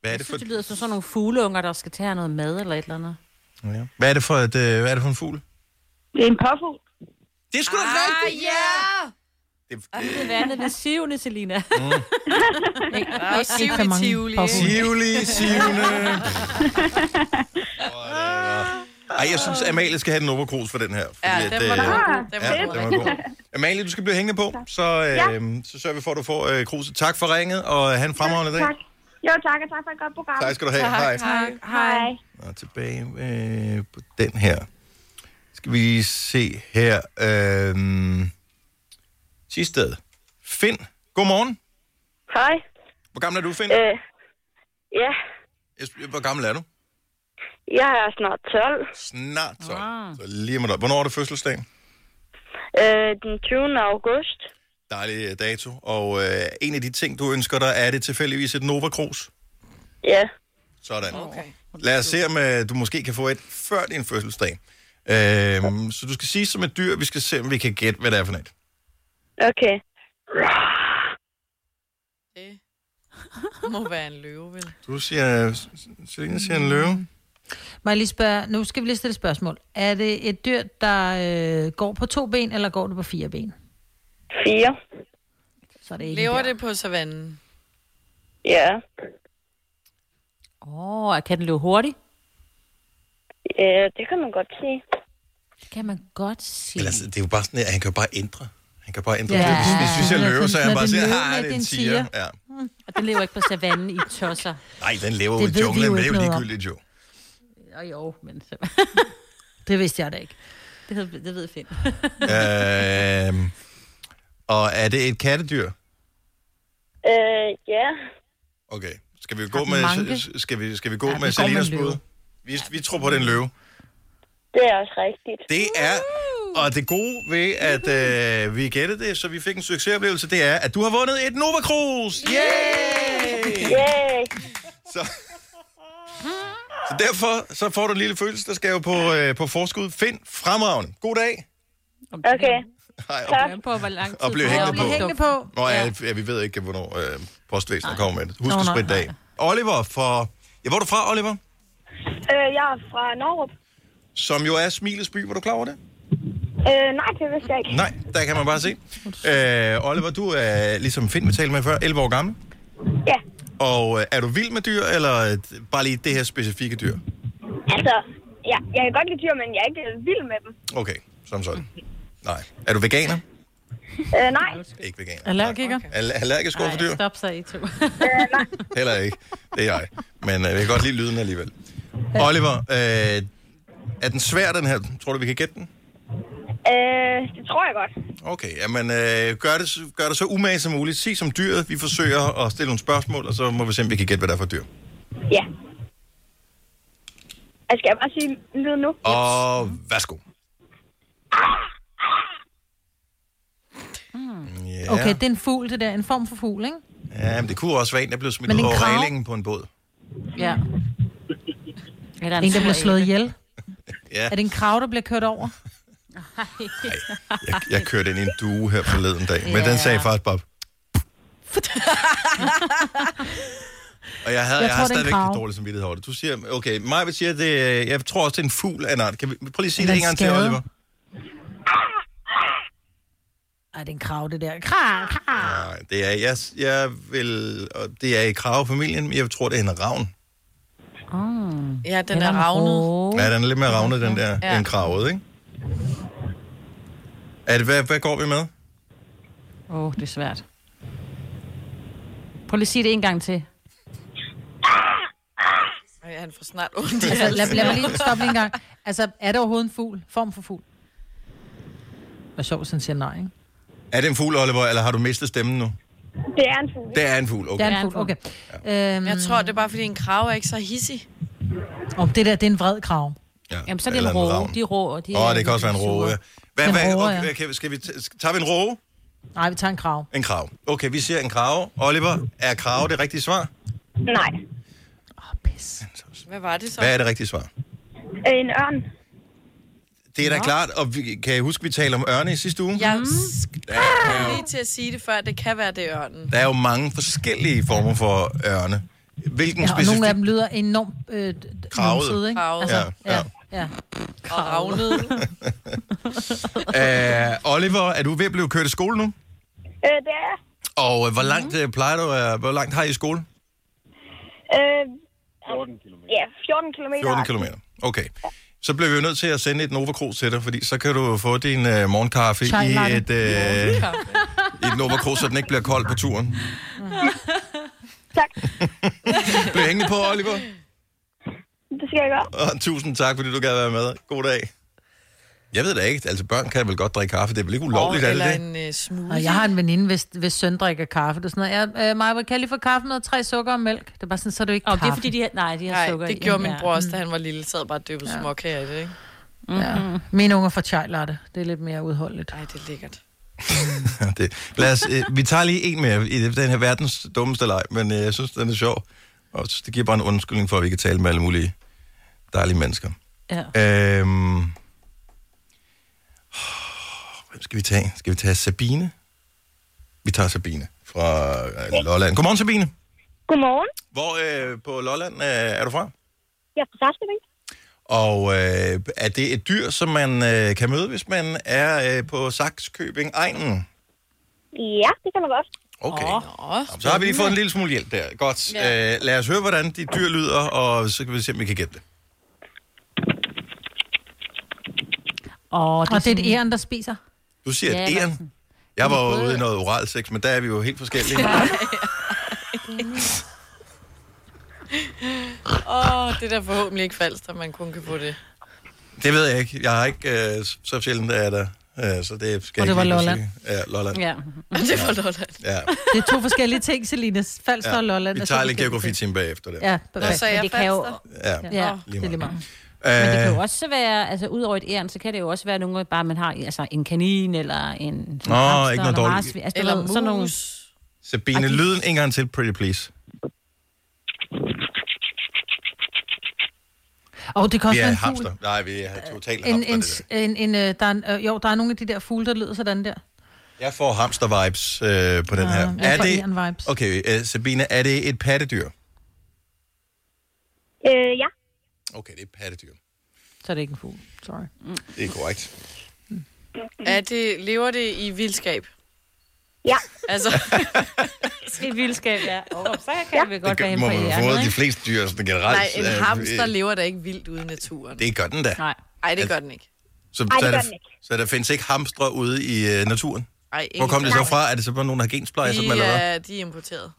Hvad er det for, Det lyder som sådan nogle fugleunger, der skal tage noget mad eller et eller andet. ja. hvad er det for, et, øh, hvad er det for en fugl? det er en påfugl. Det er sgu da Ah, rigtigt! ja! Det, det er vandet ved sivende, Selina. Mm. Ikke, Og Sivne Tivoli, ikke? Tivoli, Sivne. Ej, jeg synes, Amalie skal have den overkrus for den her. fordi Ja, den at, var øh, Ah, god. Den var ja, god. den var god. Amalie, du skal blive hængende på, så, øh, så sørger vi for, at du får øh, kruset. Tak for ringet, og have en fremragende dag. Tak. Jo, tak, og tak for et godt program. Tak skal du have. Tak, Hej. tak. Hej. Og tilbage øh, på den her. Skal vi se her. Øh, sidste sted. Finn, godmorgen. Hej. Hvor gammel er du, Finn? Øh, ja, Øh. Hvor gammel er du? jeg er snart 12. Snart 12. Så lige med dig. Hvornår er det fødselsdagen? Øh, den 20. august. Dejlig øh, dato. Og øh, en af de ting, du ønsker dig, er det tilfældigvis et Nova Cruz. Ja. Sådan. Okay. Lad os se, om øh, du måske kan få et før din fødselsdag. Øhm, så du skal sige som et dyr, vi skal se, om vi kan gætte, hvad det er for noget. Okay. Det må være en løve, vel? Du siger, S- S- Selina siger en løve. Må jeg lige spørge, nu skal vi lige stille et spørgsmål. Er det et dyr, der øh, går på to ben, eller går det på fire ben? Fire. Så er det ikke Lever en bjørn. det på savannen? Ja. Åh, oh, kan den løbe hurtigt? Ja, det kan man godt sige. Det kan man godt sige. Eller, altså, det er jo bare sådan, at han kan jo bare ændre. Han kan bare ændre. Ja. Ja. Hvis, hvis vi Når siger løve, den- så er han når bare den siger, løve ah, er det er en den tiger. Ja. Mm. Og den lever ikke på savannen i tosser. Nej, den lever Det jo i ved vi jo junglen, men det er ikke jo noget om. ligegyldigt jo. Jo, jo, men så... Det vidste jeg da ikke. Det, hed- det ved Finn. øhm, og er det et kattedyr? Øh, ja. Okay. Skal vi gå den med, manke? s- skal vi, skal vi gå Ja, ja, den med går med Selinas en løve. bud? Vi, vi tror på den løve. Det er også rigtigt. Det er, og det gode ved, at øh, vi gættede det, så vi fik en succesoplevelse, det er, at du har vundet et Nova Cruz! Yay! Yay! Så, så derfor så får du en lille fødselsdagsgave på, øh, på forskud. Find fremragende. God dag. Okay. Hej, og bliv på, hvor lang tid Og blev du er hængende oppe. på. på. Nå, ja, ja, vi ved ikke, hvornår øh, postvæsenet kommer med det. Husk Nå, at nej, spritte dag. Oliver fra... Ja, hvor er du fra, Oliver? Øh, jeg er fra Norrup. Som jo er Smilets by. Var du klar over det? Øh, nej, det vidste jeg ikke. Nej, der kan man bare se. Øh, Oliver, du er ligesom Finn, vi talte med før, 11 år gammel. Ja. Og øh, er du vild med dyr, eller øh, bare lige det her specifikke dyr? Altså, ja, jeg kan godt lide dyr, men jeg er ikke vild med dem. Okay, som sådan. Mm. Nej. Er du veganer? Øh, nej. Ikke veganer. Allergiker? Al- allergisk over for dyr? Stop så, I to. Heller ikke. Det er jeg. Men øh, jeg kan godt lide lyden alligevel. Oliver, øh, er den svær, den her? Tror du, vi kan gætte den? Øh, det tror jeg godt. Okay, jamen øh, gør, det, så- gør det så umage som muligt. Sig som dyret. Vi forsøger at stille nogle spørgsmål, og så må vi se, om vi kan gætte, hvad der er for et dyr. Ja. Altså, skal jeg bare sige lyden nu? Og værsgo. Ja. Hmm. Okay, det er en fugl, det der. En form for fugl, ikke? Ja, men det kunne også være en, der blev smidt Men ud en over krav? reglingen på en båd. Ja. Eller en, der bliver slået ihjel. ihjel. Ja, Er det en krav, der bliver kørt over? jeg, jeg kørte ind i en due her forleden dag, men Ja. den sagde faktisk bare... Og jeg, Jeg tror, havde, jeg, jeg har det er en stadigvæk krav. lidt dårlig samvittighed over det. Du siger, okay, mig vil sige, at det, er- jeg tror også, det er en fugl af en art. Kan vi prøv lige at sige Eller det en en gang til, skade. Oliver? Ej, det er en krav, det der. Krav, krav. Nej, det er, jeg, jeg vil, og det er i kravefamilien, men jeg tror, det er en ravn. Ja, den Eller er en Mm. ravnet. Oh. Ja, den er lidt mere ravnet, den der, Ja. ja. end kravet, ikke? At, hvad, hvad går vi med? Åh, oh, det er svært. Prøv lige at sige det en gang til. Ej, han får snart ondt. Altså, lad, lad mig lige stoppe lige en gang. Altså, er det overhovedet en fugl? Form for fugl? Hvor sjovt, sådan siger nej, ikke? Er det en fugl, Oliver, eller har du mistet stemmen nu? Det er en fugl. Det er en fugl, okay. Det er en fugl, okay. Øhm... Jeg tror, det er bare, fordi en krav er ikke så hissig. Om det der, det er en vred krav. Ja. Jamen, så er det Eller en en råge. ravn. De er rå. De Åh, er- oh, det kan også være en roe. Hvad, En hvad, råge, okay, ja. hvad, kan, skal vi t- tager vi en roe? Nej, vi tager en krav. En krav. Okay, vi siger en krav. Oliver, er krav det rigtige svar? Nej. Hvad var det så? Hvad er det rigtige svar? Øh, En ørn. Det er da Nå. klart, og vi, kan I huske, vi talte om ørne i sidste uge? Jeg er lige til at sige det før, det kan være, det er ørnen. Der er jo mange forskellige former for ørne. Hvilken Ja, og specifik... nogle af dem lyder enormt øh, Kravet. numsede, ikke? Kravet. Altså, Ja, ja. ja. ja. Og ravnet. Æh, Øh, Oliver, er du ved at blive kørt i skole nu? Øh, det er jeg. Og øh, hvor Mhm. langt øh, plejer du, øh, hvor langt har I i skole? Øh, 14 km. Ja, 14 km. 14 km. Okay. Så bliver vi jo nødt til at sende et Nova Cruz til dig, fordi så kan du få din øh, morgenkaffe i Chai-latte. et, øh, i et Nova Cruz, så den ikke bliver kold på turen. tak. Bliv hængende på, Oliver. Det skal jeg gøre. Og tusind tak, fordi du gad være med. God dag. Jeg ved da ikke, altså børn kan vel godt drikke kaffe. Det er vel ikke ulovligt, er det Eller det? en uh, smoothie. Og jeg har en veninde, hvis, hvis søn drikker kaffe. Det er sådan noget. Ja, øh, Maja, kan jeg lige få kaffe med tre sukker og mælk? Det er bare sådan, så er det jo ikke Åh, kaffe. det er fordi, de har, nej, de har Nej, sukker det i. gjorde Ja. Mm. min bror også, da han var lille. Sad bare og dyppede ja. småkager i det, ikke? Ja. Mine unger får chai latte. Det er lidt mere udholdeligt. Ej, det er lækkert. det. Lad os, øh, vi tager lige en mere i den her verdens dummeste leg, men øh, jeg synes, den er sjov. Og det giver bare en undskyldning for, at vi kan tale med alle mulige dejlige mennesker. Ja. Øhm, hvem skal vi tage? Skal vi tage Sabine? Vi tager Sabine fra øh, Lolland. Godmorgen, Sabine. Godmorgen. Hvor øh, på Lolland øh, er du fra? Jeg er fra Sarsbeving. Og øh, er det et dyr, som man øh, kan møde, hvis man er øh, på Saxkøbing Egnen? Ja, det kan man godt. Okay. Nå, Så har vi lige fået en lille smule hjælp der. Godt. Ja. Øh, lad os høre, hvordan de dyr lyder, og så kan vi se, om vi kan gætte det. Og det, og det er et æren, der spiser. Du siger Ja, ja, et æren. Jeg var jo ude i noget oral sex, men der er vi jo helt forskellige. Åh, oh, det er da forhåbentlig ikke falsk, at man kun kan få det. det ved jeg ikke. Jeg har ikke øh, så sjældent, der er der. Øh, så det skal Og det jeg var ikke lige kunne Lolland. sige. Ja, Lolland. Ja. Ja. Det var Lolland. ja. Det er to forskellige ting, Selina. Falster og Altså Lolland. Vi er tager to lige en forskellige ting. geografi-time bagefter der. Ja, perfekt. Men det kan jo, Ja, ja, lige det er lige meget. meget. Men det kan Øh, jo også være, altså ud over et æren, så kan det jo også være nogle, bare man har altså, en kanin, eller en, en Nå, ikke noget dårligt. marsvin. Altså, Eller eller ved, sådan nogle, Sabine, lyden en gang til, pretty please. Og det kan også vi er være en hamster. fugl. Øh, Nej, vi er totalt En, hamster. en, det en, en, øh, der er en, øh, jo, der er nogle af de der fugle, der lyder sådan der. der. Jeg får hamster-vibes øh, på den her. jeg er får det, æren-vibes. Okay, øh, Sabine, er det et pattedyr? Øh, ja. Okay, det er et pattedyr. Så er det ikke en fugl. Sorry. Mm. Det er korrekt. Er det, lever det i vildskab? Ja. Altså, et vildskab, ja. Og så kan ja. vi godt være Det henne må på man få æren, de ikke? fleste dyr sådan generelt. nej, en øh, hamster øh, lever da ikke vildt ude i naturen. Det gør den da. Altså- Nej. Nej, det gør den ikke. Så, Ej, det så, er gør der, den ikke. så der findes ikke hamstre ude i øh, naturen? Ej, Hvor kom det så fra? Er det så bare nogen, der har gensplejset dem, De, eller hvad? er, de er importeret.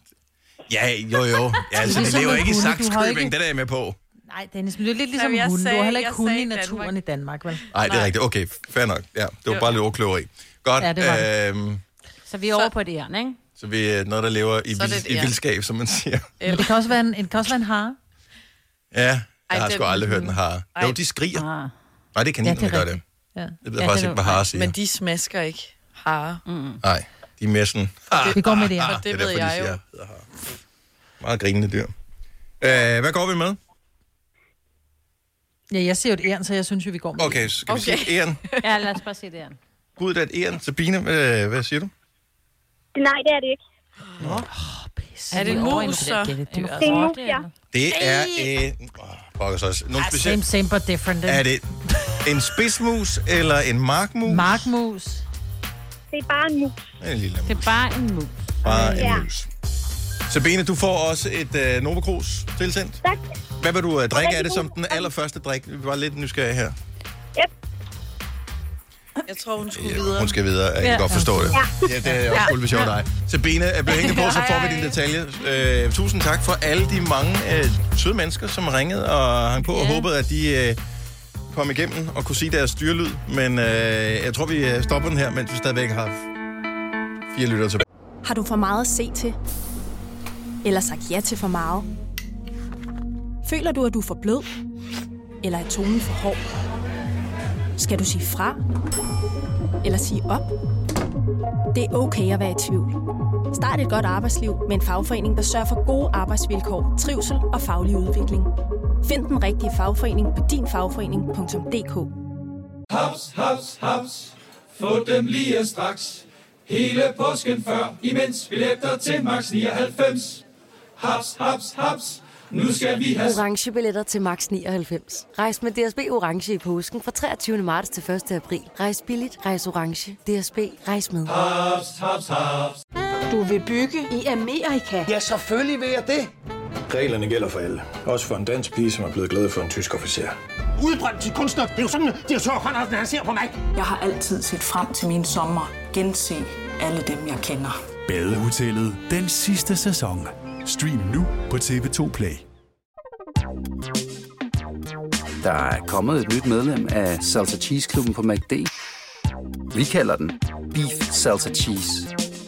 Ja, jo, jo. Ja, altså, det ligesom lever med ikke i hunde, du har Saxkøbing, ikke- det er jeg med på. Nej, Dennis, men det er lidt ligesom Jamen, jeg hunde. Du har sagde- heller ikke jeg hunde sagde i naturen i Danmark, vel? Nej, det er rigtigt. Okay, fair nok. Ja, det var bare lidt overkløveri. Godt. Ja, det var det. øhm, Så vi er over på et æren, ikke? så vi er noget, der lever i, Så er det vild, et i æren. vildskab, som man siger. Men det kan også være en, det kan også være en hare. Ja, jeg har den- sgu aldrig hørt den har. Jo, de skriger. Nej, det er kaninerne, Ah. Ja, det er ja, det der gør det. Ja. Jeg ved faktisk ikke, hvad harer siger. Men de smasker ikke hare. Mm. Nej, de er mere sådan... Det- Vi går med det, Ah, og ah, det er ved derfor, de jeg jo. siger, hedder har. Meget grinende dyr. Øh, hvad går vi med? Ja, jeg ser jo et æren, så jeg synes jo, vi går med Okay, så skal okay. vi sige æren. Ja, lad os bare se det æren. Gud, det er et æren. Sabine, hvad, hvad siger du? Nej, det er det ikke. Er det en mus, så? Det er en mus, ja. Det er en... Oh, også. Nogle Ah, same, specielle... same, but different. Er det en spidsmus eller en markmus? Markmus. Det er bare en mus. En lille Det er bare en mus. bare Ja. en mus. Sabine, du får også et uh, Nova Cruz tilsendt. Tak. Hvad vil øh, du uh, drikke af det som den allerførste drik? Vi var lidt nysgerrige her. Yep. Jeg tror, hun skulle Ja, videre. hun skal videre. Jeg kan godt forstå det. Ja, det er også ulve sjovt dig. Sabine, øh, bliv hængende på, så får vi dine detaljer. Øh, tusind tak for alle de mange øh, søde mennesker, som ringede og hang på og håbede, at de øh, kom igennem og kunne sige deres styrlyd. Men øh, jeg tror, vi øh, stopper den her, mens vi stadigvæk har fire lytter tilbage. Har du for meget at se til? Eller sagt ja til for meget? Føler du, at du er for blød? Eller er tonen for hård? Skal du sige fra? Eller sige op? Det er okay at være i tvivl. Start et godt arbejdsliv med en fagforening, der sørger for gode arbejdsvilkår, trivsel og faglig udvikling. Find den rigtige fagforening på dinfagforening.dk Haps, haps, haps. Få dem lige straks. Hele påsken før, imens billetter til max 99. Haps, haps, haps. Nu skal vi have... orange billetter til max 99. Rejs med DSB orange i påsken fra 23. marts til 1. april. Rejs billigt, rejs orange. DSB rejs med. Haps, haps, haps. Du vil bygge i Amerika? Ja, selvfølgelig vil jeg det. Reglerne gælder for alle. Også for en dansk pige, som er blevet glad for en tysk officer. Udbrøndt til kunstner. Det er jo sådan, at de har tørt, han ser på mig. Jeg har altid set frem til min sommer. Gense alle dem, jeg kender. Badehotellet den sidste sæson. Stream nu på TV2 Play. Der er kommet et nyt medlem af Salsa Cheese Klubben på MACD. Vi kalder den Beef Salsa Cheese,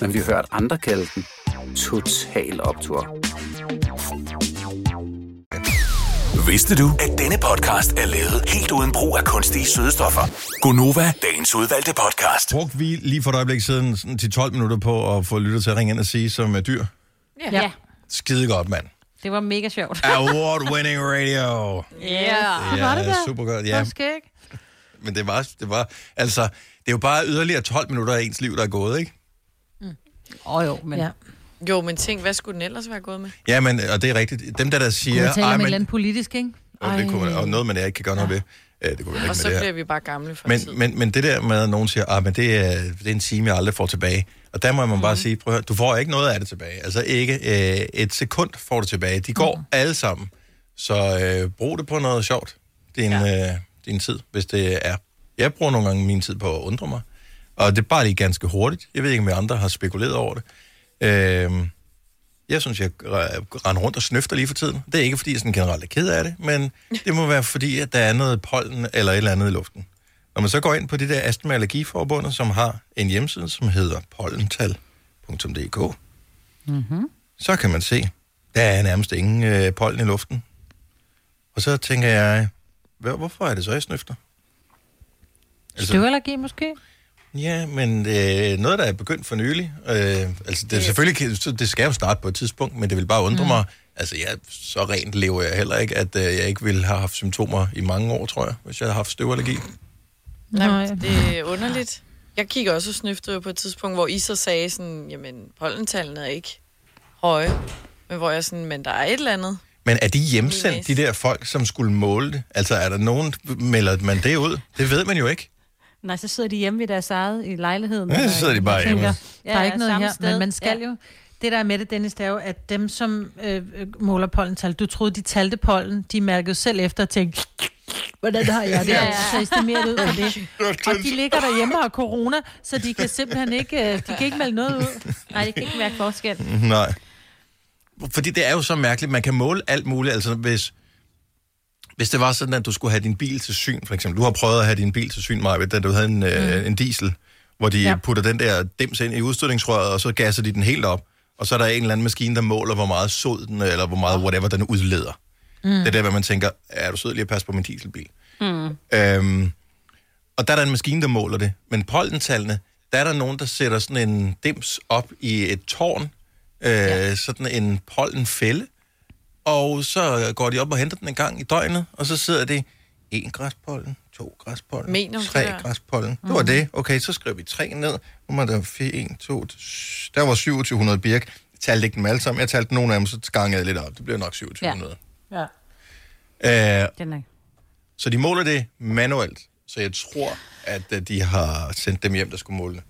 men vi har hørt andre kalde den Total Optor. Vidste du, at denne podcast er lavet helt uden brug af kunstige sødestoffer? Gunova, Dagens udvalgte podcast. Brugte vi lige for et øjeblik siden sådan 10-12 minutter på at få lytter til at ringe ind og sige som er dyr? Ja. ja. Skide godt, mand. Det var mega sjovt. Award-winning radio. Yeah. Det Var er det der? super godt, ja. Men det var, det var, altså, det er jo bare yderligere 12 minutter af ens liv, der er gået, ikke? Åh oh, jo, men... Ja. Jo, men tænk, hvad skulle den ellers være gået med? Ja, men, og det er rigtigt. Dem, der, der Kunne siger, man tale om "Ej, et men, eller andet politisk, ikke? og det kunne man, og noget, man ikke kan gøre noget ved. Ja, det kunne man Og ikke så med det bliver her. vi bare gamle for men, Men, men, men det der med, at nogen siger, at det, er, det er en time, jeg aldrig får tilbage. Og der må man bare sige, prøv at høre, du får ikke noget af det tilbage. Altså ikke øh, et sekund får du tilbage. De går alle sammen. Så øh, brug det på noget sjovt. Din, ja. øh, din tid, hvis det er. Jeg bruger nogle gange min tid på at undre mig. Og det er bare lige ganske hurtigt. Jeg ved ikke, om jeg andre har spekuleret over det. Øh, jeg synes, jeg øh, render rundt og snøfter lige for tiden. Det er ikke, fordi jeg sådan generelt er ked af det, men det må være, fordi at der er noget pollen eller et eller andet i luften. Når man så går ind på det der Astma Allergiforbundet, som har en hjemmeside, som hedder pollental.dk, Mm-hmm. så kan man se, der er nærmest ingen øh, pollen i luften. Og så tænker jeg, hvad, hvorfor er det så, jeg snøfter? Altså- Støvallergi måske? Ja, men øh, noget, der er begyndt for nylig, øh, altså det, er selvfølgelig, kan- så det skal jo starte på et tidspunkt, men det vil bare undre mm. Mm. mig, altså jeg, så rent lever jeg heller ikke, at øh, jeg ikke ville have haft symptomer i mange år, tror jeg, hvis jeg havde haft støvallergi. Nej. Det er underligt. Jeg kigger også og snøftede jo på et tidspunkt, hvor I så sagde sådan, jamen, pollentallene er ikke høje. Men hvor jeg sådan, men der er et eller andet. Men er de hjemsendt, de der folk, som skulle måle det? Altså er der nogen, melder man det ud? Det ved man jo ikke. Nej, så sidder de hjemme i deres eget i lejligheden. Ja, så sidder de bare hjemme. Ja, der er ikke noget samme her, sted. men man skal ja. jo... Det, der er med det, Dennis, det er jo, at dem, som øh, øh, måler pollental, du troede, de talte pollen, de mærkede jo selv efter og tænkte, hvordan har jeg det? Ja, Ja, ja. ja. Så estimerer det ud af det. Og de ligger derhjemme og har corona, så de kan simpelthen ikke, øh, de kan ikke melde noget ud. Nej, det kan ikke mærke forskel. Nej. Fordi det er jo så mærkeligt, man kan måle alt muligt. Altså hvis, hvis det var sådan, at du skulle have din bil til syn, for eksempel. Du har prøvet at have din bil til syn, Maja, da du havde en, øh, en diesel, hvor de ja. Ja. putter den der dims ind i udstødningsrøret, og så gasser de den helt op. Og så er der en eller anden maskine, der måler, hvor meget sod den, eller hvor meget whatever den udleder. Mm. Det er der, hvor man tænker, er du sød lige at passe på min dieselbil? Mm. Øhm, og der er der en maskine, der måler det. Men pollentallene, der er der nogen, der sætter sådan en dims op i et tårn, øh, ja. sådan en pollenfælde, og så går de op og henter den en gang i døgnet, og så sidder det en græspollen, to græspollen, Mener du tre det Mhm. der? græspollen. Det var det. Okay, så skrev vi tre ned. Nu var der 1, 2, der var 2700 birk. Jeg talte ikke dem alle sammen. Jeg talte nogle af dem, så gangede jeg lidt op. Det blev nok 2700. Ja. Ja. Øh, Den er... så de måler det manuelt. Så jeg tror, at øh, de har sendt dem hjem, der skulle måle det.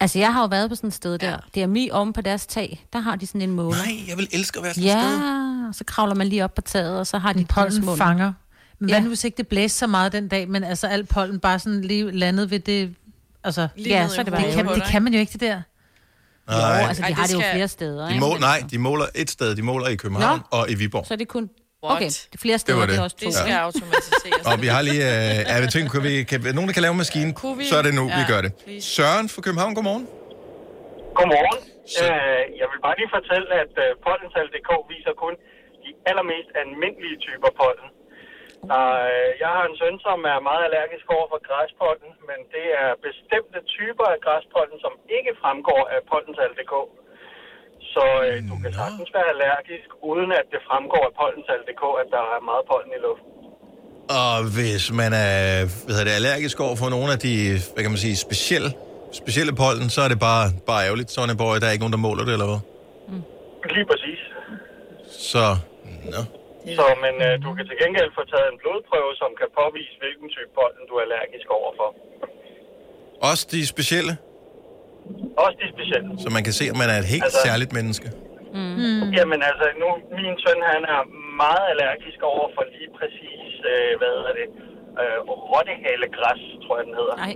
Altså, jeg har jo været på sådan et sted der. Det er mi om på deres tag. Der har de sådan en måler. Nej, jeg vil elske at være sådan et ja, sted. Ja, så kravler man lige op på taget, og så har de en Pollen fanger. Men hvad nu, hvis ikke det blæste så meget den dag, men altså alt pollen bare sådan lige landet ved det Altså, Lige Ja, ned så er i det bare- det, kan, hovedet på det dig. kan man jo ikke, det der. Nej. Jo, altså, de Ej, det har det jo skal- flere steder, De ikke? må, Altså. nej, de måler et sted. De måler i København Nå. Nå. og i Viborg. Så er det kun... Okay, det er flere Det steder, var det, det. det. er også to. Det skal Ja. automatiseres. Og vi har lige... Øh, er vi tænkt, kan vi, kan, nogen, der kan lave maskinen, Kunne vi? så er det nu, ja, vi Ja, gør det. please. Søren fra København, godmorgen. Godmorgen. Øh, jeg vil bare lige fortælle, at øh, pollental.dk viser kun de allermest almindelige typer pollen. Øh, jeg har en søn, som er meget allergisk over for græspollen, men det er bestemte typer af græspollen, som ikke fremgår af pollental.dk. Så øh, du kan sagtens være allergisk, uden at det fremgår af pollental.dk, at der er meget pollen i luften. Og hvis man er hvad hedder det, allergisk over for nogle af de, hvad kan man sige, specielle, specielle pollen, så er det bare, bare ærgerligt, Sonny Boy. Der er ikke nogen, der måler det, eller hvad? Lige præcis. Så, nå. Så men øh, du kan til gengæld få taget en blodprøve, som kan påvise, hvilken type pollen du er allergisk overfor. Også de specielle, Også de specielle. så man kan se, om man er et helt altså... Altså- særligt menneske. Mm. Jamen altså, nu, min søn han er meget allergisk over for lige præcis, øh, hvad hedder det, øh, rottehalegræs, tror jeg den hedder. Nej.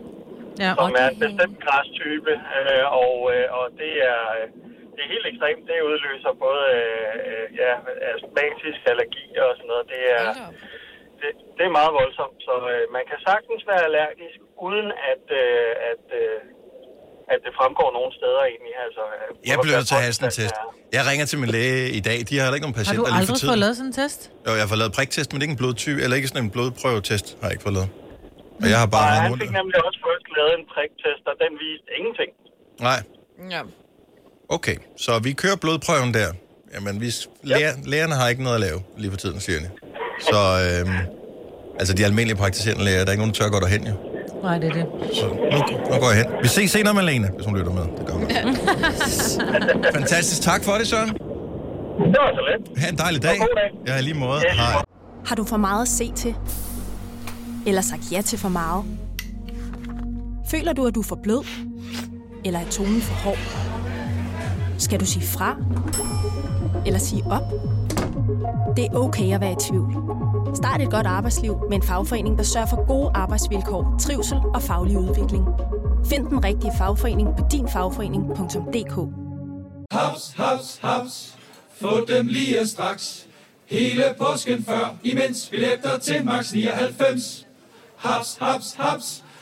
Ja, som er en bestemt græstype, øh, og, øh, og det er... øh, Det er helt ekstremt. Det udløser både øh, øh, ja, astmatisk allergi og sådan noget. Det er, det, det er meget voldsomt, så øh, man kan sagtens være allergisk, uden at, øh, at, øh, at det fremgår nogen steder egentlig. Altså, øh, Jeg bliver nødt til at have sådan en test. Jeg ringer til min læge i dag. De har heller ikke nogen Har du patienter lige for aldrig tiden. fået lavet sådan en test? Jo, jeg har fået lavet priktest, men ikke en blodtype, eller ikke sådan en blodprøvetest, har jeg ikke fået lavet. Og jeg har bare Nej, haft han mund... fik nemlig også først lavet en priktest, og den viste ingenting. Nej, Ja. okay. Så vi kører blodprøven der. Jamen, vi... Læger, lægerne har ikke noget at lave lige for tiden, siger de. Så, øhm, altså de almindelige praktiserende læger, der er ikke nogen, der tør gå derhen, jo. Nej, det er det. Så nu, nu går jeg hen. Vi ses senere, Malene, hvis hun lytter med. Det gør hun. Fantastisk. Tak for det, Søren. Det var så let. Ha' en dejlig dag. Og god dag. Ja, i lige måde. Hej. Har du for meget at se til? Eller sagt ja til for meget? Føler du, at du er for blød? Eller er tonen for hård? Skal du sige fra? Eller sige op? Det er okay at være i tvivl. Start et godt arbejdsliv med en fagforening, der sørger for gode arbejdsvilkår, trivsel og faglig udvikling. Find den rigtige fagforening på dinfagforening.dk. Haps, haps, haps. Få dem lige straks. Hele påsken før, imens billetter til max 99. Haps, haps, haps.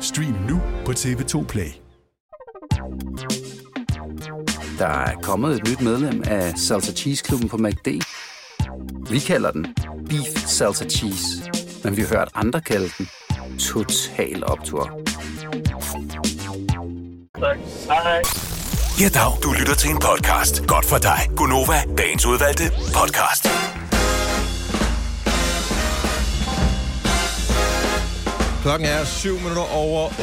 Stream nu på TV2 Play. Der er kommet et nyt medlem af Salsa Cheese Klubben på MACD. Vi kalder den Beef Salsa Cheese, men vi har hørt andre kalde den Total Optor. Hej. Ja, dag. Du lytter til en podcast. Godt for dig. Gunova, dagens udvalgte podcast. Klokken er 7 minutter over 8.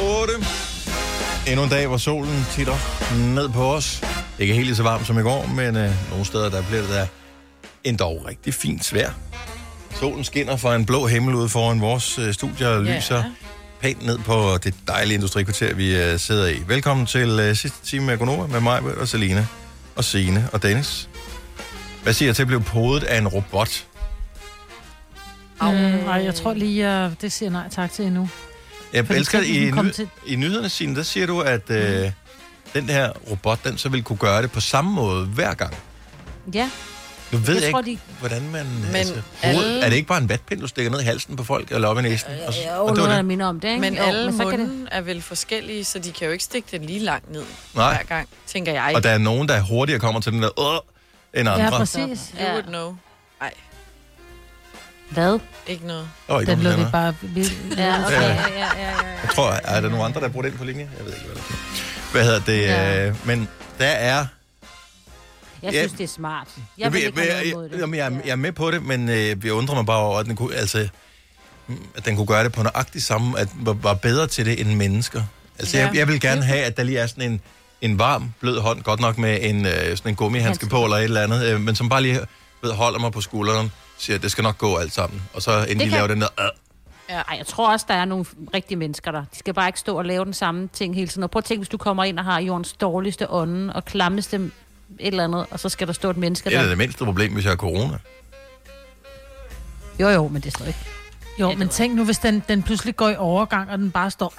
Endnu en dag, hvor solen titter ned på os. Ikke helt lige så varmt som i går, men øh, nogle steder der bliver det da endda rigtig fint vejr. Solen skinner fra en blå himmel ude foran vores øh, studier og Ja. lyser pænt ned på det dejlige industrikvarter, vi øh, sidder i. Velkommen til øh, sidste time med Gonova med mig og Selina og Sine og Dennis. Hvad siger jeg til at blive podet af en robot? Mm, nej, jeg tror lige, jeg, det siger nej tak til endnu. Jeg Fordi elsker teknikken i, kom ny, til- i nyhederne, Signe, der siger du, at øh, den her robot, den så vil kunne gøre det på samme måde hver gang. Ja. Nu ved jeg, Jeg jeg tror, ikke, de... hvordan man... Men altså, alle- alle... Er det ikke bare en vatpind, du stikker ned i halsen på folk, eller op i næsen? Og, s- Jo, og det noget, var der det. minder om det, ikke? Men jo, alle så kan det- munden er vel forskellige, så de kan jo ikke stikke den lige langt ned Nej. hver gang, tænker jeg. og der er nogen, der hurtigere kommer til den der... Øh, end andre. You would know. Ej. Hvad? Ikke noget. Åh, ikke Den nogen lod vi blander. bare... Ja, okay, ja, ja, ja, ja. Jeg tror, er der nogen andre, der bruger den på linje? Jeg ved ikke, hvad det er. Hvad hedder det? Ja. Øh, men der er... Jeg Ja. synes, det er smart. Jeg vil jeg, ikke have noget imod jeg, jeg, jeg, jeg, jeg er med på det, men øh, jeg undrer mig bare over, at den kunne, altså, mm, at den kunne gøre det på nøjagtig samme, at var, var bedre til det end mennesker. Altså, ja. Ja. jeg, jeg vil gerne have, at der lige er sådan en en varm, blød hånd, godt nok med en, øh, sådan en gummihandske på eller et eller andet, øh, men som bare lige ved, holder mig på skulderen, siger, det skal nok gå alt sammen. Og så inden Det de kan- laver den der, øh, Ja. Ej, jeg tror også, der er nogle rigtige mennesker der. De skal bare ikke stå og lave den samme ting hele tiden. Og prøv at tænke, hvis du kommer ind og har jordens dårligste ånde og klammeste et eller andet, og så skal der stå et menneske det er da der. det mindste problem, hvis jeg har corona. Jo, jo, men det er stadig. Jo, men tænk nu, hvis den, den pludselig går i overgang, og den bare står...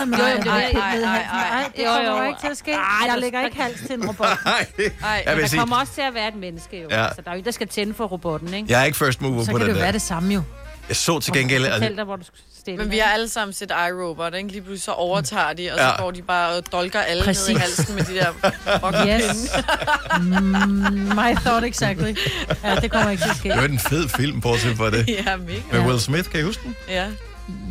Jo, jo, det er ikke helt nede i halsen. Nej, Jo, det jo. kommer jo ikke til at ske. Ej, Jeg du- lægger ikke hals til en robot. Nej, Ej, jeg vil der sige, kommer også til at være et menneske, jo. Ja. Ja. Altså, der er jo en, der skal tænde for robotten, ikke? jeg er ikke first mover Så på kan det den jo være der. det samme jo. Jeg så til gengæld, at dig, hvor du skal stille. Men vi har alle sammen set iRobot, ikke? Lige pludselig så overtager de, og så Ja. går de bare og dolker alle Præcis. ned Præcis. i halsen med de der fucking Yes. Mm, my thought exactly. Ja, det kommer ikke til at ske. det var en fed film, på at for det. Ja, mega. Med Will Smith, kan I huske den? Ja.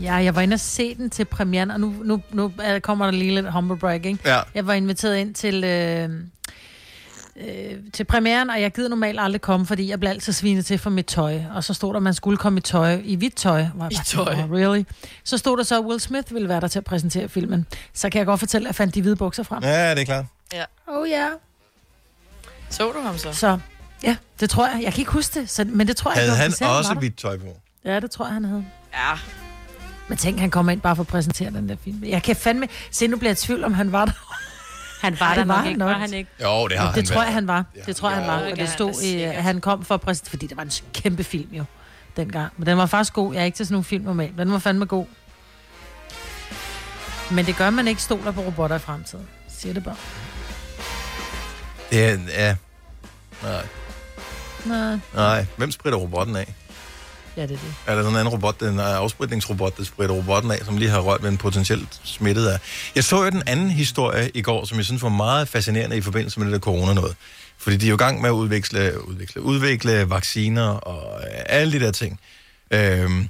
Ja, jeg var inde og se den til premieren, og nu, nu, nu øh, kommer der lige lidt humble brag, ikke? Ja. Jeg var inviteret ind til, øh, øh, til premieren, og jeg gider normalt aldrig komme, fordi jeg blev altid svinet til for mit tøj. Og så stod der, at man skulle komme i tøj, i hvidt tøj. Var I tøj. Oh, really? Så stod der så, at Will Smith ville være der til at præsentere filmen. Så kan jeg godt fortælle, at jeg fandt de hvide bukser frem. Ja, det er klart. Ja. Oh ja. Yeah. Så du ham så? Så ja, det tror jeg. Jeg kan ikke huske det, så, men det tror jeg. Havde ikke, han officielt var også der. hvidt tøj på? Ja, det tror jeg, han havde. Ja. Men tænk, han kommer ind bare for at præsentere den der film. Jeg kan fandme... Se, nu bliver jeg i tvivl, om han var der. Han var Ej, der det nok ikke, var han ikke? Jo, det har det han tror været. jeg, han var. Det tror jeg, han var. Og Ja, det stod, det er i, at han kom for at præsentere... Fordi det var en kæmpe film jo, dengang. Men den var faktisk god. Jeg er ikke til sådan nogle film normalt, men den var fandme god. Men det gør, at man ikke stoler på robotter i fremtiden. Siger det bare. Ja, ja. Nej. Nej. Nej. Hvem spritter robotten af? Ja, det er det. Er der sådan en anden robot, den er afspritningsrobot, der spritter robotten af, som lige har rørt ved en potentielt smittet af? Jeg så jo den anden historie i går, som jeg synes var meget fascinerende i forbindelse med det der corona noget. Fordi de er jo i gang med at udvikle, udvikle, udvikle vacciner og øh, alle de der ting. Øhm,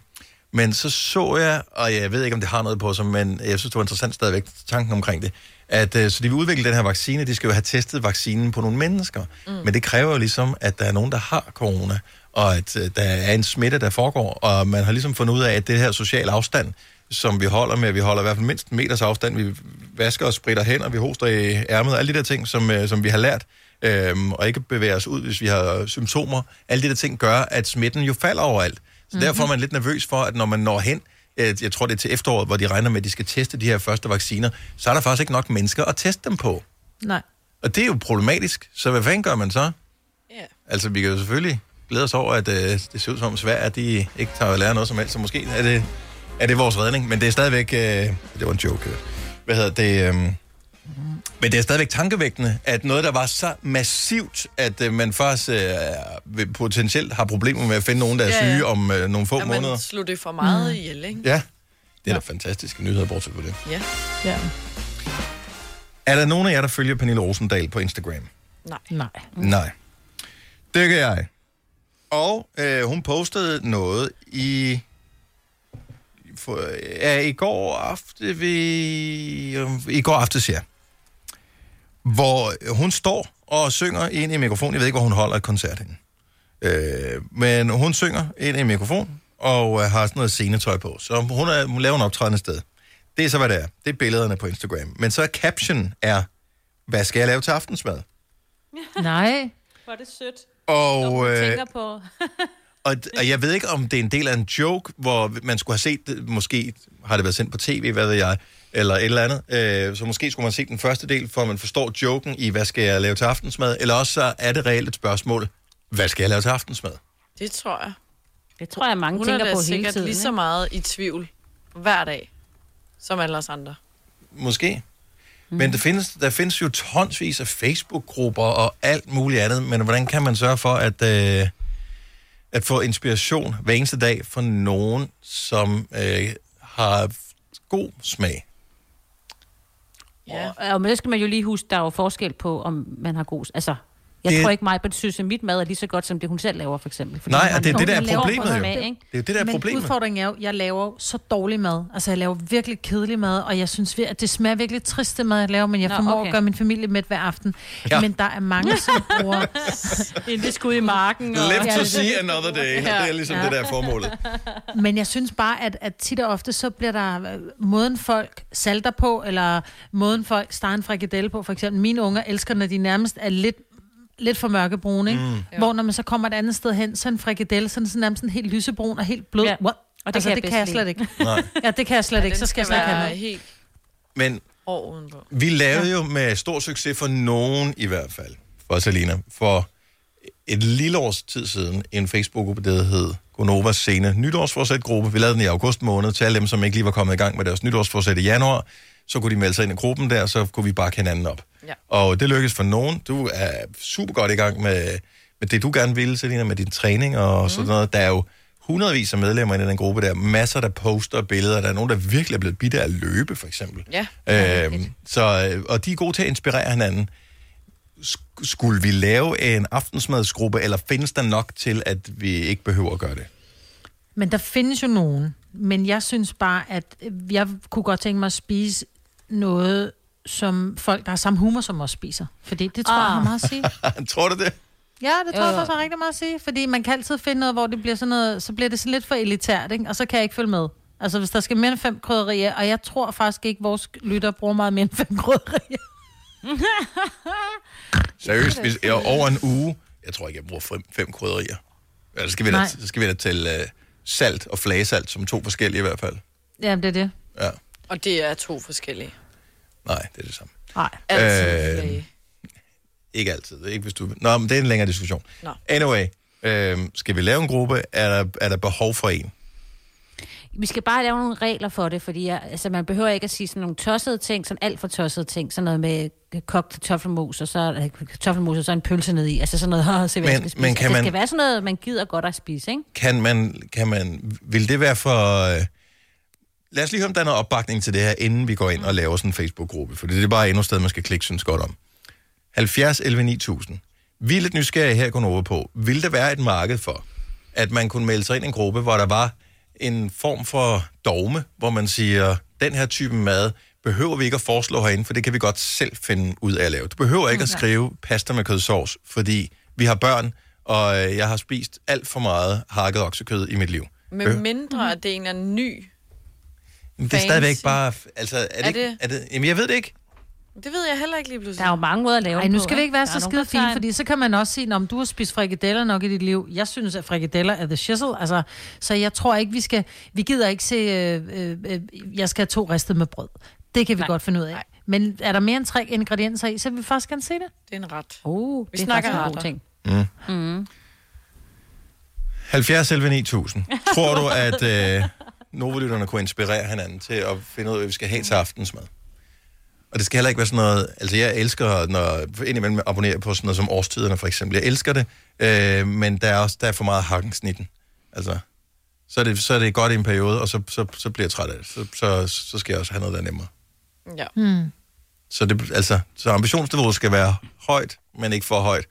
men så så jeg, og jeg ved ikke, om det har noget på sig, men jeg synes, det var interessant stadigvæk, tanken omkring det, at øh, så de vil udvikle den her vaccine, de skal jo have testet vaccinen på nogle mennesker. Mm. Men det kræver jo ligesom, at der er nogen, der har corona, og at øh, der er en smitte, der foregår, og man har ligesom fundet ud af, at det her sociale afstand, som vi holder med, vi holder i hvert fald mindst en meters afstand, vi vasker og spritter hænder, vi hoster i ærmet, alle de der ting, som, øh, som vi har lært, øhm, og ikke bevæger os ud, hvis vi har symptomer, alle de der ting gør, at smitten jo falder overalt. Så derfor er man lidt nervøs for, at når man når hen, øh, jeg tror det er til efteråret, hvor de regner med, at de skal teste de her første vacciner, så er der faktisk ikke nok mennesker at teste dem på. Nej. Og det er jo problematisk, så hvad fanden gør man så? Ja. Altså, vi kan jo selvfølgelig glæde os over, at øh, det ser ud som om Sverige, at de ikke tager at lære noget som helst, så måske er det, er det vores redning, men det er stadigvæk... Øh, det var en joke. øh. Hvad hedder det... Øh, men det er stadigvæk tankevækkende, at noget, der var så massivt, at øh, man faktisk øh, vil- potentielt har problemer med at finde nogen, der er Ja, syge ja. om øh, nogle få At man måneder. slog det for meget mm. ihjel, ikke? Ja, det er da fantastiske nyheder, bortset på det. Ja. Ja. Er der nogen af jer, der følger Pernille Rosendal på Instagram? Nej. Nej. Nej. Det gør jeg. Og øh, hun postede noget i... For, ja, i går aften ved... I går aftes, ja. Hvor hun står og synger ind i mikrofonen. Jeg ved ikke, hvor hun holder et koncert henne. Øh, men hun synger ind i mikrofon og øh, har sådan noget scenetøj på. Så hun, er, hun laver en optrædende sted. Det er så, hvad det er. Det er billederne på Instagram. Men så er caption er, hvad skal jeg lave til aftensmad? Nej. Hvor er det sødt. Og, Jeg øh, tænker på... og, og jeg ved ikke, om det er en del af en joke, hvor man skulle have set det, måske har det været sendt på tv, hvad ved jeg, eller et eller andet. Øh, så måske skulle man se den første del, for at man forstår joken i, hvad skal jeg lave til aftensmad, eller også så er det reelt et spørgsmål, hvad skal jeg lave til aftensmad? Det tror jeg. Det tror jeg, mange Hun tænker er på da hele sikkert tiden, lige så ikke? meget i tvivl hver dag, som alle os andre. Måske. Mm. Men der findes, der findes jo tonsvis af Facebook-grupper og alt muligt andet, men hvordan kan man sørge for at, øh, at få inspiration hver eneste dag fra nogen, som øh, har god smag? Ja. Og, og men det skal man jo lige huske, der er jo forskel på, om man har god... Altså, Jeg Det- det... tror ikke, mig synes, at mit mad er lige så godt, som det hun selv laver, for eksempel. Fordi Nej, hun har og det er en det, der er ung, laver problemet, brød jo. med, Det ikke? er jo det, der er Men problemet. udfordringen er jo, at jeg laver jo så dårlig mad. Altså, jeg laver virkelig kedelig mad, og jeg synes, vir- at det smager virkelig trist, det mad, jeg laver, men jeg Nå, Nå, formår okay. okay. at gøre min familie med hver aften. Ja. Ja. Men der er mange, som bruger... det skud i marken. Left Ja, to det- see another day. Ja. Det er ligesom det, der er formålet. Men jeg synes bare, at, at tit og ofte, så bliver der øh, måden folk salter på, eller måden folk steger en frikadelle på. For eksempel mine unger elsker, når de nærmest er lidt lidt for mørkebrune, ikke? Mm. Mm. Hvor når man så kommer et andet sted hen, så er en frikadelle, så er den sådan nærmest sådan helt lysebrun og helt blød. Ja. What? Og det kan altså, jeg det bedst kan jeg lide. slet ikke. Nej. Ja, det kan jeg slet ja, ikke. Så skal jeg slet ikke have noget. helt Men hård udenpå. vi lavede jo med stor succes for nogen i hvert fald, for Selina, for et lille års tid siden, en Facebook-gruppe, der hed Gonovas Scene Nytårsforsæt-gruppe. Vi lavede den i august måned til alle dem, som ikke lige var kommet i gang med deres nytårsforsæt i januar. Så kunne de melde sig ind i gruppen der, så kunne vi bakke hinanden op. Ja. Og det lykkedes for nogen. Du er super godt i gang med, med det, du gerne vil, Selina, med din træning og mm. sådan noget. Der er jo hundredvis af medlemmer i den gruppe der. Masser, der poster billeder. Der er nogen, der virkelig er blevet bidt af at løbe, for eksempel. Ja. Øhm, så, øh, og de er gode til at inspirere hinanden. Sk- Skulle vi lave en aftensmadsgruppe, eller findes der nok til, at vi ikke behøver at gøre det? Men der findes jo nogen. Men jeg synes bare, at øh, jeg kunne godt tænke mig at spise noget, som folk, der har samme humor som os, spiser. Fordi det tror ah. jeg har meget at sige. Tror du det? Ja, det tror jeg Jo. faktisk har rigtig meget at sige. Fordi man kan altid finde noget, hvor det bliver sådan noget, så bliver det sådan lidt for elitært, ikke? og så kan jeg ikke følge med. Altså, hvis der skal mere end fem krydderier, og jeg tror faktisk ikke, vores lytter bruger meget mere end fem krydderier. Seriøst, hvis, ja, over en uge, jeg tror ikke, jeg bruger fem, fem krydderier. Ja, så skal vi da, Nej. så skal vi da til uh, salt og flagesalt, som to forskellige i hvert fald. Jamen, det er det. Ja, Og det er to forskellige. nej, det er det samme. Nej. Altid. Øh, Øh... Ikke altid, ikke hvis du... Nå, men det er en længere diskussion. Nå. Anyway, øh, skal vi lave en gruppe? Er der, er der behov for en? Vi skal bare lave nogle regler for det, fordi jeg, altså, man behøver ikke at sige sådan nogle tossede ting, sådan alt for tossede ting, sådan noget med øh, kogt kartoffelmos, og så øh, kartoffelmos, og så en pølse ned i, altså sådan noget, "Åh, se hvad jeg skal Men- spise. men Men kan kan altså, man- det skal være sådan noget, man gider godt at spise, ikke? Kan man, kan man, vil det være for... Øh, lad os lige høre, om der er noget opbakning til det her, inden vi går ind og laver sådan en Facebook-gruppe, for det er bare endnu et sted, man skal klikke synes godt om. 70 11 9000. Vi er lidt nysgerrige her, kun over på. Vil der være et marked for, at man kunne melde sig ind i en gruppe, hvor der var en form for dogme, hvor man siger, den her type mad behøver vi ikke at foreslå herinde, for det kan vi godt selv finde ud af at lave. Du behøver ikke at skrive pasta med kødsovs, fordi vi har børn, og øh, jeg har spist alt for meget hakket oksekød i mit liv. Med Mhm. mindre, at det er en eller anden ny. Men det er stadigvæk Fancy. bare... Altså, er det, Er er det? det- Er det jamen, jeg ved det ikke. Det ved jeg heller ikke lige pludselig. Der er jo mange måder at lave Ej, den nu på, skal vi ikke Der være så er nogen, skide der fine, tager en- fordi så kan man også sige, om du har spist frikadeller nok i dit liv. Jeg synes, at frikadeller er the shizzle. Altså, så jeg tror ikke, vi skal... Vi gider ikke se... Øh, øh, øh, jeg skal have to ristet med brød. Det kan vi Nej. godt finde ud af. Nej. Men er der mere end tre ingredienser i, så vil vi faktisk gerne se det. Det er en ret. Oh, vi det er snakker faktisk en god retter. ting. Mm. Mm-hmm. Mm. 70 11 9000. Tror du, at øh, novolytterne kunne inspirere hinanden til at finde ud af, hvad vi skal have til aftensmad? Og det skal heller ikke være sådan noget... Altså, jeg elsker, når indimellem abonnerer på sådan noget som årstiderne, for eksempel. Jeg elsker det, øh, men der er også der er for meget hakkensnitten. Altså, så er, det, så er det godt i en periode, og så, så, så bliver jeg træt af det. Så, så, så skal jeg også have noget, der er nemmere. Ja. Hmm. Mm. Så, det, altså, så ambitionsniveauet skal være højt, men ikke for højt.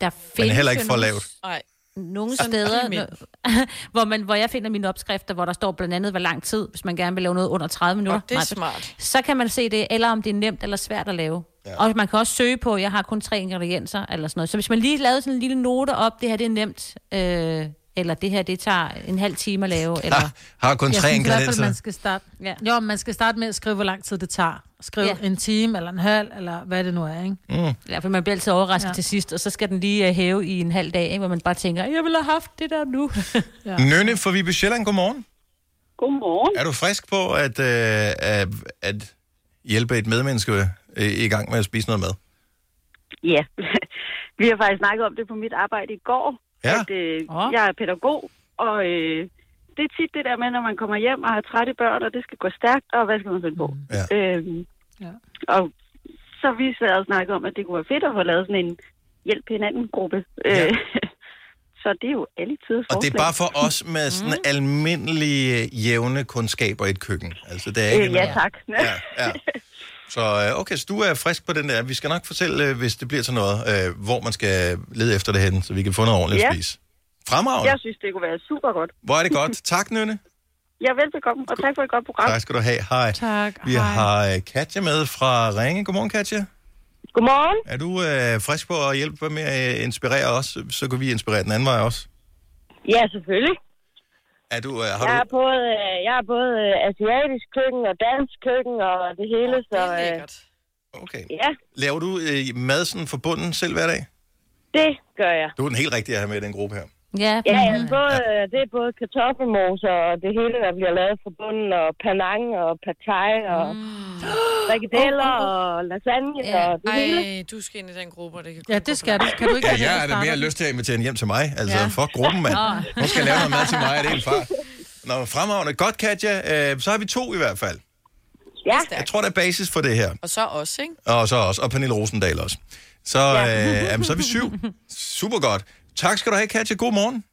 Der Men findes heller ikke jo for nogle- lavt. Nogle Sådan steder, imellem. når- hvor, man, hvor jeg finder mine opskrifter, hvor der står blandt andet, hvor lang tid, hvis man gerne vil lave noget under 30 minutter. det er Nej, smart. Så kan man se det, eller om det er nemt eller svært at lave. Ja. Og man kan også søge på, jeg har kun tre ingredienser, eller sådan noget. Så hvis man lige lavede sådan en lille note op, det her det er nemt, øh, eller det her det tager en halv time at lave, eller... Ah, har kun jeg tre synes i hvert fald, ingredienser. man skal starte... Ja. Jo, man skal starte med at skrive, hvor lang tid det tager. Skriv Ja. ja. en time, eller en halv, eller hvad det nu er, ikke? Mm. Ja, for man bliver altid overrasket ja. Ja. til sidst, og så skal den lige øh, hæve i en halv dag, ikke? hvor man bare tænker, jeg ville have haft det der nu. Mm. ja. Nynne fra Vibe Sjælland, godmorgen. Godmorgen. Er du frisk på at, øh, at, at hjælpe et medmenneske øh, i gang med at spise noget mad? Ja, vi har faktisk snakket om det på mit arbejde i går, Ja. at øh, jeg er pædagog, og øh, det er tit det der med, når man kommer hjem og har trætte børn, og det skal gå stærkt, og hvad skal man finde på? Ja. Øhm, ja. Og så har vi sad og snakket om, at det kunne være fedt at få lavet sådan en hjælp hinanden-gruppe. Ja. så det er jo alle tider Og det er bare for os med sådan mm. almindelige, jævne kundskaber i et køkken. Altså, det er ikke Øh, ja, noget- tak. Ja, ja. Så øh, okay, så du er frisk på den der. Vi skal nok fortælle, øh, hvis det bliver til noget, øh, hvor man skal lede efter det henne, så vi kan få noget ordentligt Ja. at spise. Fremragende. Jeg synes, det kunne være super godt. Hvor er det godt. Tak, Nynne. Ja, velbekomme, og tak for et godt program. Tak skal du have. Hej. Tak. Vi har øh, Katja med fra Ringe. Godmorgen, Katja. Godmorgen. Er du øh, frisk på at hjælpe med at inspirere os, så kan vi inspirere den anden vej også. Ja, selvfølgelig. Er du, øh, har Jeg du... er både, øh, jeg er både øh, asiatisk køkken og dansk køkken og det hele, så... Øh, okay. Ja, Laver du øh, mad sådan for bunden selv hver dag? det gør jeg. Du er den helt rigtige at have med i den gruppe her. Ja, ja, ja både, øh, det er både kartoffelmoser og det hele, der bliver lavet fra bunden, og panang og pad thai og frikadeller Åh, åh, åh. og lasagne og det hele. Ej, Øh, du skal ind i den gruppe, og det kan Ja, det skal du. Kan Ja, jeg er da mere lyst til at invitere hende hjem til mig. Altså, ja. fuck gruppen, mand. Nå. Nu skal jeg lave noget mad til mig, og det er en far. Nå, fremragende. Godt, Katja. Øh, så har vi to i hvert fald. Ja. Jeg tror, der er basis for det her. Og så os, ikke? Og så også. Og Pernille Rosendal også. Så, ja. øh, jamen, så er vi syv. Super godt. Tak skal du have, Katja. God morgen.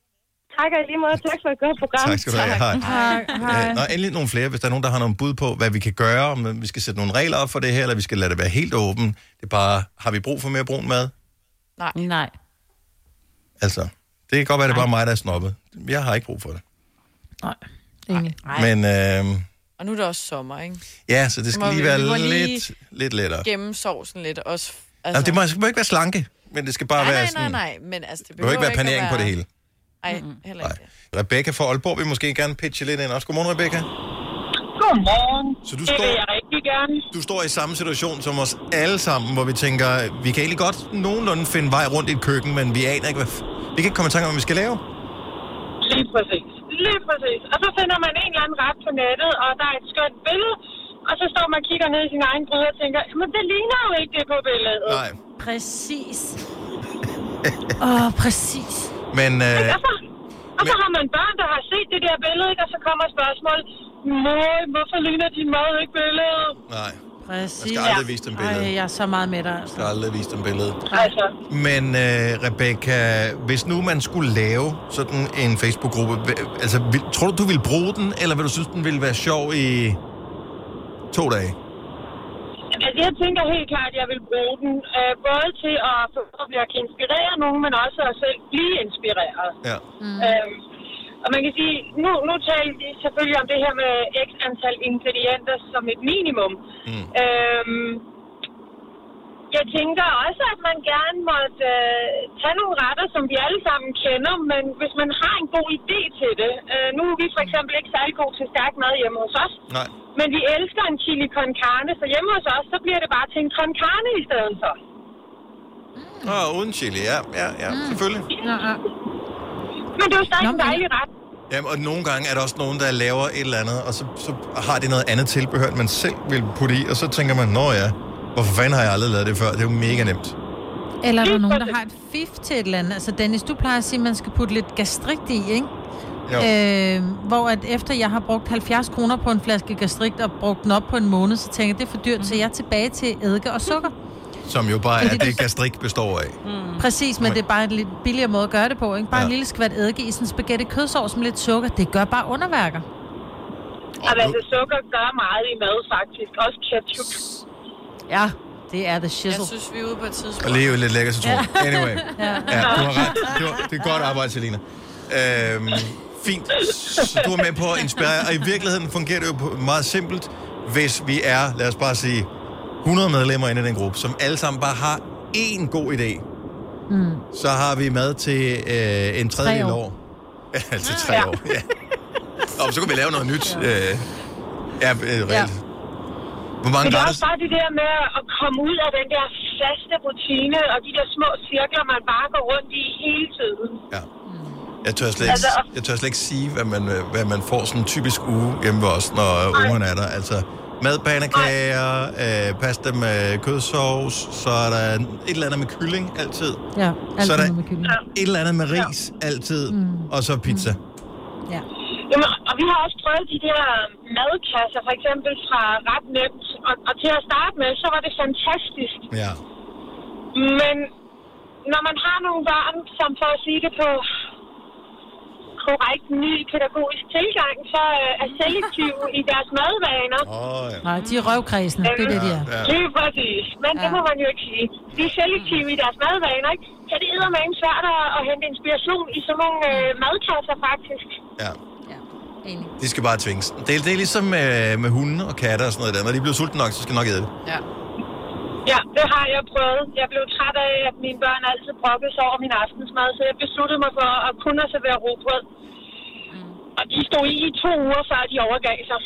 Tak og i lige måde. Tak for et godt program. Tak skal du have. Hej. Hej. Øh, Nå, endelig nogle flere, hvis der er nogen, der har nogle bud på, hvad vi kan gøre, om øh, vi skal sætte nogle regler op for det her, eller vi skal lade det være helt åben. Det er bare, har vi brug for mere brun mad? Nej. Nej. Altså, det kan godt være, det er bare mig, der er snobbet. Jeg har ikke brug for det. Ingen. Men øh, Og nu er det også sommer, ikke? ja, så det Må skal lige vi- være vi må lige lidt, lidt lettere. Gemme sovsen lidt også. Altså, det må, det må ikke være slanke, men det skal bare nej, være nej, nej, sådan... nej, men altså, det Det behøver ikke være panering på det hele. Mm. Nej, heller ikke. Rebecca fra Aalborg vil måske gerne pitche lidt ind også. Godmorgen, Rebecca. Godmorgen. Så du det står- vil jeg rigtig gerne. Du står i samme situation som os alle sammen, hvor vi tænker, vi kan egentlig godt nogenlunde finde vej rundt i et køkken, men vi aner ikke, hvad... f- Vi kan ikke komme i tanke om, hvad vi skal lave. Lige præcis. Lige præcis. Og så finder man en eller anden ret på nettet, og der er et skønt billede, og så står man og kigger ned i sin egen gryde og tænker, men det ligner jo ikke det på billedet. Nej. Præcis. Åh, oh, præcis. Men øh, Og så har man børn, der har set det der billede, ikke? og så kommer spørgsmålet, mor, hvorfor ligner din mad ikke billedet? nej, Præcis. Man skal aldrig vise dem billedet. Ej, jeg er så meget med dig. altså. jeg har aldrig vist dem billedet. Altså, Men øh, Rebecca, hvis nu man skulle lave sådan en Facebook-gruppe, hva- altså, vil, tror du, du ville bruge den, eller vil du synes, den ville være sjov i to dage? Altså, jeg tænker helt klart, at jeg vil bruge den øh, både til at forhåbentlig at kan inspirere nogen, men også at selv blive inspireret. Ja. Mm. Øhm, og man kan sige, nu, nu taler vi selvfølgelig om det her med x antal ingredienser som et minimum. Mm. Øhm, jeg tænker også, at man gerne måtte øh, tage nogle retter, som vi alle sammen kender, men hvis man har en god idé til det. Øh, nu er vi for eksempel ikke særlig gode til stærk mad hjemme hos os. Nej. Men vi elsker en chili con carne, så hjemme hos os, så bliver det bare til en con carne i stedet for. Åh, uden chili, ja, ja, ja, Mm. selvfølgelig. Men det er jo stadig en dejlig ret. Jamen, og nogle gange er der også nogen, der laver et eller andet, og så, så har de noget andet tilbehør, end man selv vil putte i, og så tænker man, nå ja, hvorfor fanden har jeg aldrig lavet det før? Det er jo mega nemt. Eller er der nogen, der har et fif til et eller andet? Altså Dennis, du plejer at sige, at man skal putte lidt gastrikt i, ikke? Jo. Øh, hvor at efter jeg har brugt 70 kroner på en flaske gastrikt og brugt den op på en måned, så tænker jeg, det er for dyrt, så jeg er tilbage til eddike og sukker. Som jo bare er Fordi du- det, gastrik består af. Mm. Præcis, men det er bare en lidt billigere måde at gøre det på, ikke? Bare ja. en lille skvat eddike i sådan en spaghetti kødsovs med lidt sukker. Det gør bare underværker. Og altså, sukker gør meget i mad, faktisk. Også ketchup. Ja, det er the shizzle. Jeg synes, vi er ude på et tidspunkt. Og leve lidt lækker citron. Ja. Anyway. Ja. Ja, du har ret. Det, var, det er godt arbejde, Selina. Øhm, fint. Så du er med på at inspirere. Og i virkeligheden fungerer det jo på- meget simpelt, hvis vi er, lad os bare sige, 100 medlemmer inde i den gruppe, som alle sammen bare har én god idé. Mm. Så har vi mad til øh, en tredje Tre år. år. Ja, til tre år. Ja. Og så kan vi lave noget nyt. Øh, ja, øh, reelt. Ja. Hvor mange Men det er grader? også bare det der med at komme ud af den der faste rutine, og de der små cirkler, man bare går rundt i hele tiden. Jeg tør, slet ikke, Altså, jeg tør slet ikke sige, hvad man, øh, hvad man får sådan en typisk uge hjemme ved os, når øh, ungerne er der. Altså madpanekager, øh, pasta med kødsovs, så er der et eller andet med kylling altid. Ja, alt så er der med kylling. et eller andet med ris altid, og så pizza. Ja. Jamen, og vi har også prøvet de der madkasser, for eksempel fra Ret Nemt. Og, og til at starte med, så var det fantastisk. Ja. Men når man har nogle børn, som for at sige det på korrekt ny pædagogisk tilgang, så øh, er selektiv i deres madvaner. Oh, ja. Nej, de er røvkredsende. Det er det, de er. Ja. Lige præcis. Men ja. det må man jo ikke sige. De er selektive i deres madvaner, ikke? Så det er med svært at, at hente inspiration i sådan nogle øh, madkasser, faktisk. De skal bare tvinges. Det er, det er ligesom med, med hunde og katter og sådan noget der. Når de bliver sultne nok, så skal de nok æde det. Ja. Ja, det har jeg prøvet. Jeg blev træt af, at mine børn altid brokkede sig over min aftensmad, så jeg besluttede mig for at kun at servere robrød. Og de stod i i to uger, før de overgav sig.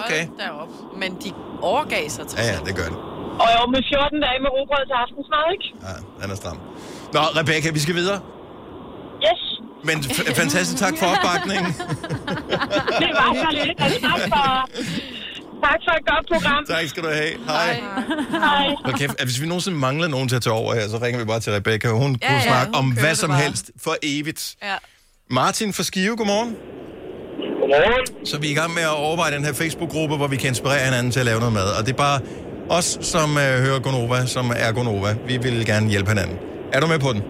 Okay. Derop. Men de overgav sig til Ja, ja, det gør det. Og jeg var med 14 dage med robrød til aftensmad, ikke? Ja, han er stram. Nå, Rebecca, vi skal videre. Yes. Men f- fantastisk tak for opbakningen. Det var så lidt. Og tak for, tak for et godt program. tak skal du have. Hej. Hej. Hold kæft, at hvis vi nogensinde mangler nogen til at tage over her, så ringer vi bare til Rebecca. Hun Ja, ja, kunne ja, snakke hun om kører hvad det som bare. helst for evigt. Ja. Martin fra Skive, godmorgen. Godmorgen. Så vi er i gang med at overveje den her Facebook-gruppe, hvor vi kan inspirere hinanden til at lave noget mad. Og det er bare os, som øh, hører Gonova, som er Gonova. Vi vil gerne hjælpe hinanden. Er du med på den?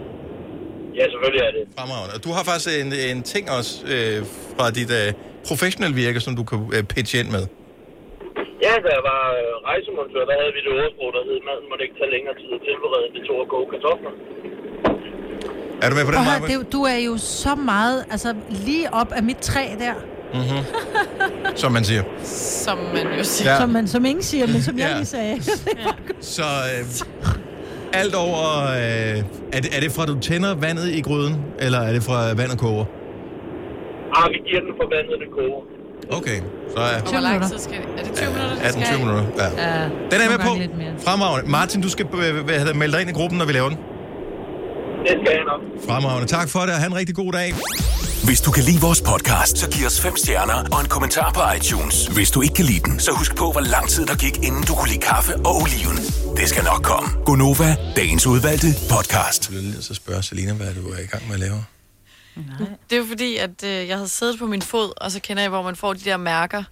Ja, selvfølgelig er det. Fremragende. Og du har faktisk en, en ting også øh, fra dit øh, professionelle virke, som du kan øh, pitche ind med. Ja, da jeg var øh, rejsemontør, der havde vi det ordsprog, der hed, maden måtte ikke tage længere tid at tilberede, end det tog at koge kartofler. Er du med på den, Og Maja? hør, det, er jo- du er jo så meget, altså lige op af mit træ der, Mm-hmm. Som man siger. Som man jo siger. ja. som, man, som ingen siger, men som ja. Ja. jeg lige sagde. Så øh, alt over... Øh, er, det, er det fra, du tænder vandet i gryden, eller er det fra øh, vandet koger? Ah, vi giver den for vandet, det koger. Okay, så er... Og hvor lang tid skal det? Er det 20 minutter, det 18 skal 20 i? minutter. Ja. Ja, Den er nogle jeg med på. gange lidt mere. Fremragende. Martin, du skal øh, hvad hedder det, melde dig ind i gruppen, når vi laver den. Det skal jeg nok. Fremragende. Tak for det, og have en rigtig god dag. Hvis du kan lide vores podcast, så giv os fem stjerner og en kommentar på iTunes. Hvis du ikke kan lide den, så husk på, hvor lang tid der gik, inden du kunne lide kaffe og oliven. Det skal nok komme. Gonova, dagens udvalgte podcast. Jeg bliver nødt til at spørge Selina, hvad du er i gang med at lave. Det er jo fordi, at øh, jeg havde siddet på min fod, og så kender jeg, hvor man får de der mærker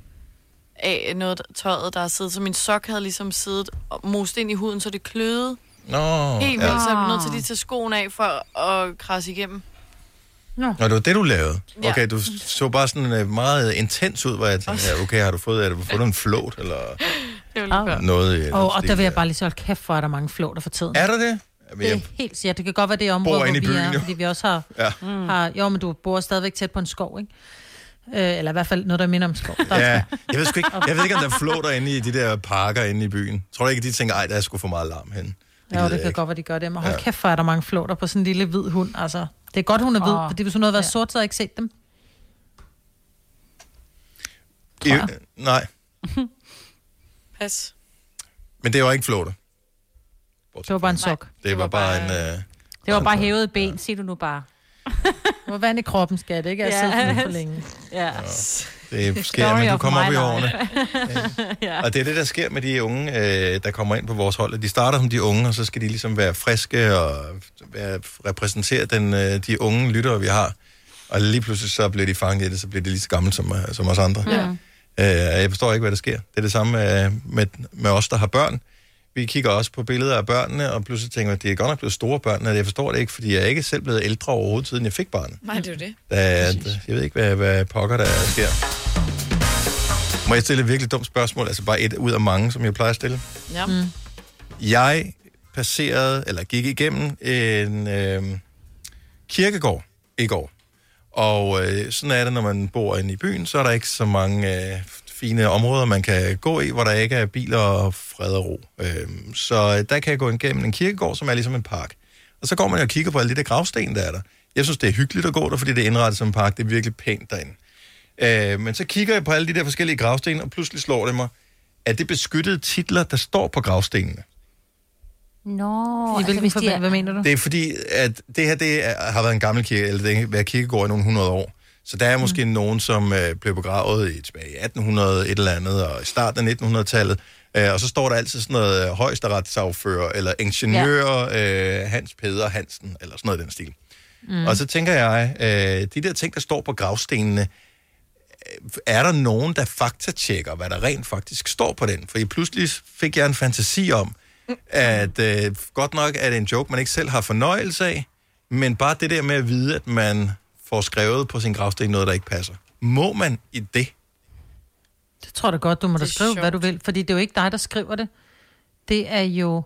af noget der- tøjet, der har siddet. Så min sok havde ligesom siddet og most ind i huden, så det kløede Nå, helt vildt. Så jeg blev nødt til lige at tage skoen af for at krasse igennem. Nå, det var det, du lavede. Ja. Okay, du så bare sådan øh, meget intens ud, hvor jeg tænkte, ja, okay, har du fået, har du fået en flot, eller Det var før. Noget i den og, og stil der vil jeg der. bare lige så holde kæft for, at der er mange flåter for tiden. er der det? Jamen, Det er jeg, helt sikkert. Det kan godt være det er område, Bor hvor inde i vi byen, er, jo. fordi vi også har, Ja. mm. har... Jo, men du bor stadigvæk tæt på en skov, ikke? Øh, eller i hvert fald noget, der minder om skov. Der er ja, jeg ved sgu ikke, jeg ved ikke, om der er flåter inde i de der parker inde i byen. Tror du ikke, de tænker, ej, der er sgu for meget larm hen. Ja, det kan godt være, de gør det. Men hold Ja. ja. kæft, hvor er der mange flåter på sådan en lille hvid hund. Altså, det er godt, hun er hvid, Åh, oh, fordi hvis hun havde været ja. sort, så havde jeg ikke set dem. I, nej, Pas. men det var ikke flåter. Det var bare en sok. Det, det var, var bare en... Øh, Det var bare hævet ben, siger du nu bare. Hvor vand i kroppen, skat, ikke? Jeg har siddet for længe. Ja. det sker, men du kommer op i årene. ja. Og det er det, der sker med de unge, øh, der kommer ind på vores hold. at De starter som de unge, og så skal de ligesom være friske og være, repræsentere den, øh, de unge lyttere, vi har. Og lige pludselig så bliver de fanget i det, så bliver de lige så gamle som, øh, som os andre. Ja. Øh, jeg forstår ikke, hvad der sker. Det er det samme øh, med, med os, der har børn. Vi kigger også på billeder af børnene, og pludselig tænker jeg, at de er godt nok blevet store børn, og jeg forstår det ikke, fordi jeg er ikke selv blevet ældre overhovedet, siden jeg fik barnet. Nej, det er jo det. Der, er- jeg ved ikke, hvad, hvad pokker der sker. Må jeg stille et virkelig dumt spørgsmål? Altså bare et ud af mange, som jeg plejer at stille. Ja. Mm. Jeg passerede, eller gik igennem en øh, kirkegård i går. Og øh, sådan er det, når man bor inde i byen, så er der ikke så mange øh, fine områder, man kan gå i, hvor der ikke er biler og fred og ro. Øh, så der kan jeg gå igennem en kirkegård, som er ligesom en park. Og så går man og kigger på alle de der gravsten, der er der. Jeg synes, det er hyggeligt at gå der, fordi det er indrettet som en park. Det er virkelig pænt derinde. Øh, men så kigger jeg på alle de der forskellige gravsten, og pludselig slår det mig, at det er beskyttede titler, der står på gravstenene. Nå, altså, I hvilken hvis de forbindelse? Hvad mener du? Det er fordi, at det her det er, har været en gammel kirke, eller det har været kirkegård i nogle hundrede år. Så der er måske mm. nogen, som øh, blev begravet i, tilbage i 1800 et eller andet, og i starten af 1900-tallet. Øh, og så står der altid sådan noget øh, højesteretssagfører, eller ingeniør ja. øh, Hans Peder Hansen, eller sådan noget i den stil. Mm. Og så tænker jeg, øh, de der ting, der står på gravstenene, øh, er der nogen, der faktatjekker, hvad der rent faktisk står på den? For I pludselig fik jeg en fantasi om, at øh, godt nok er det en joke, man ikke selv har fornøjelse af, men bare det der med at vide, at man får skrevet på sin gravsten noget, der ikke passer. Må man i det? Det tror jeg da godt, du må da skrive, sjovt. hvad du vil. Fordi det er jo ikke dig, der skriver det. Det er jo...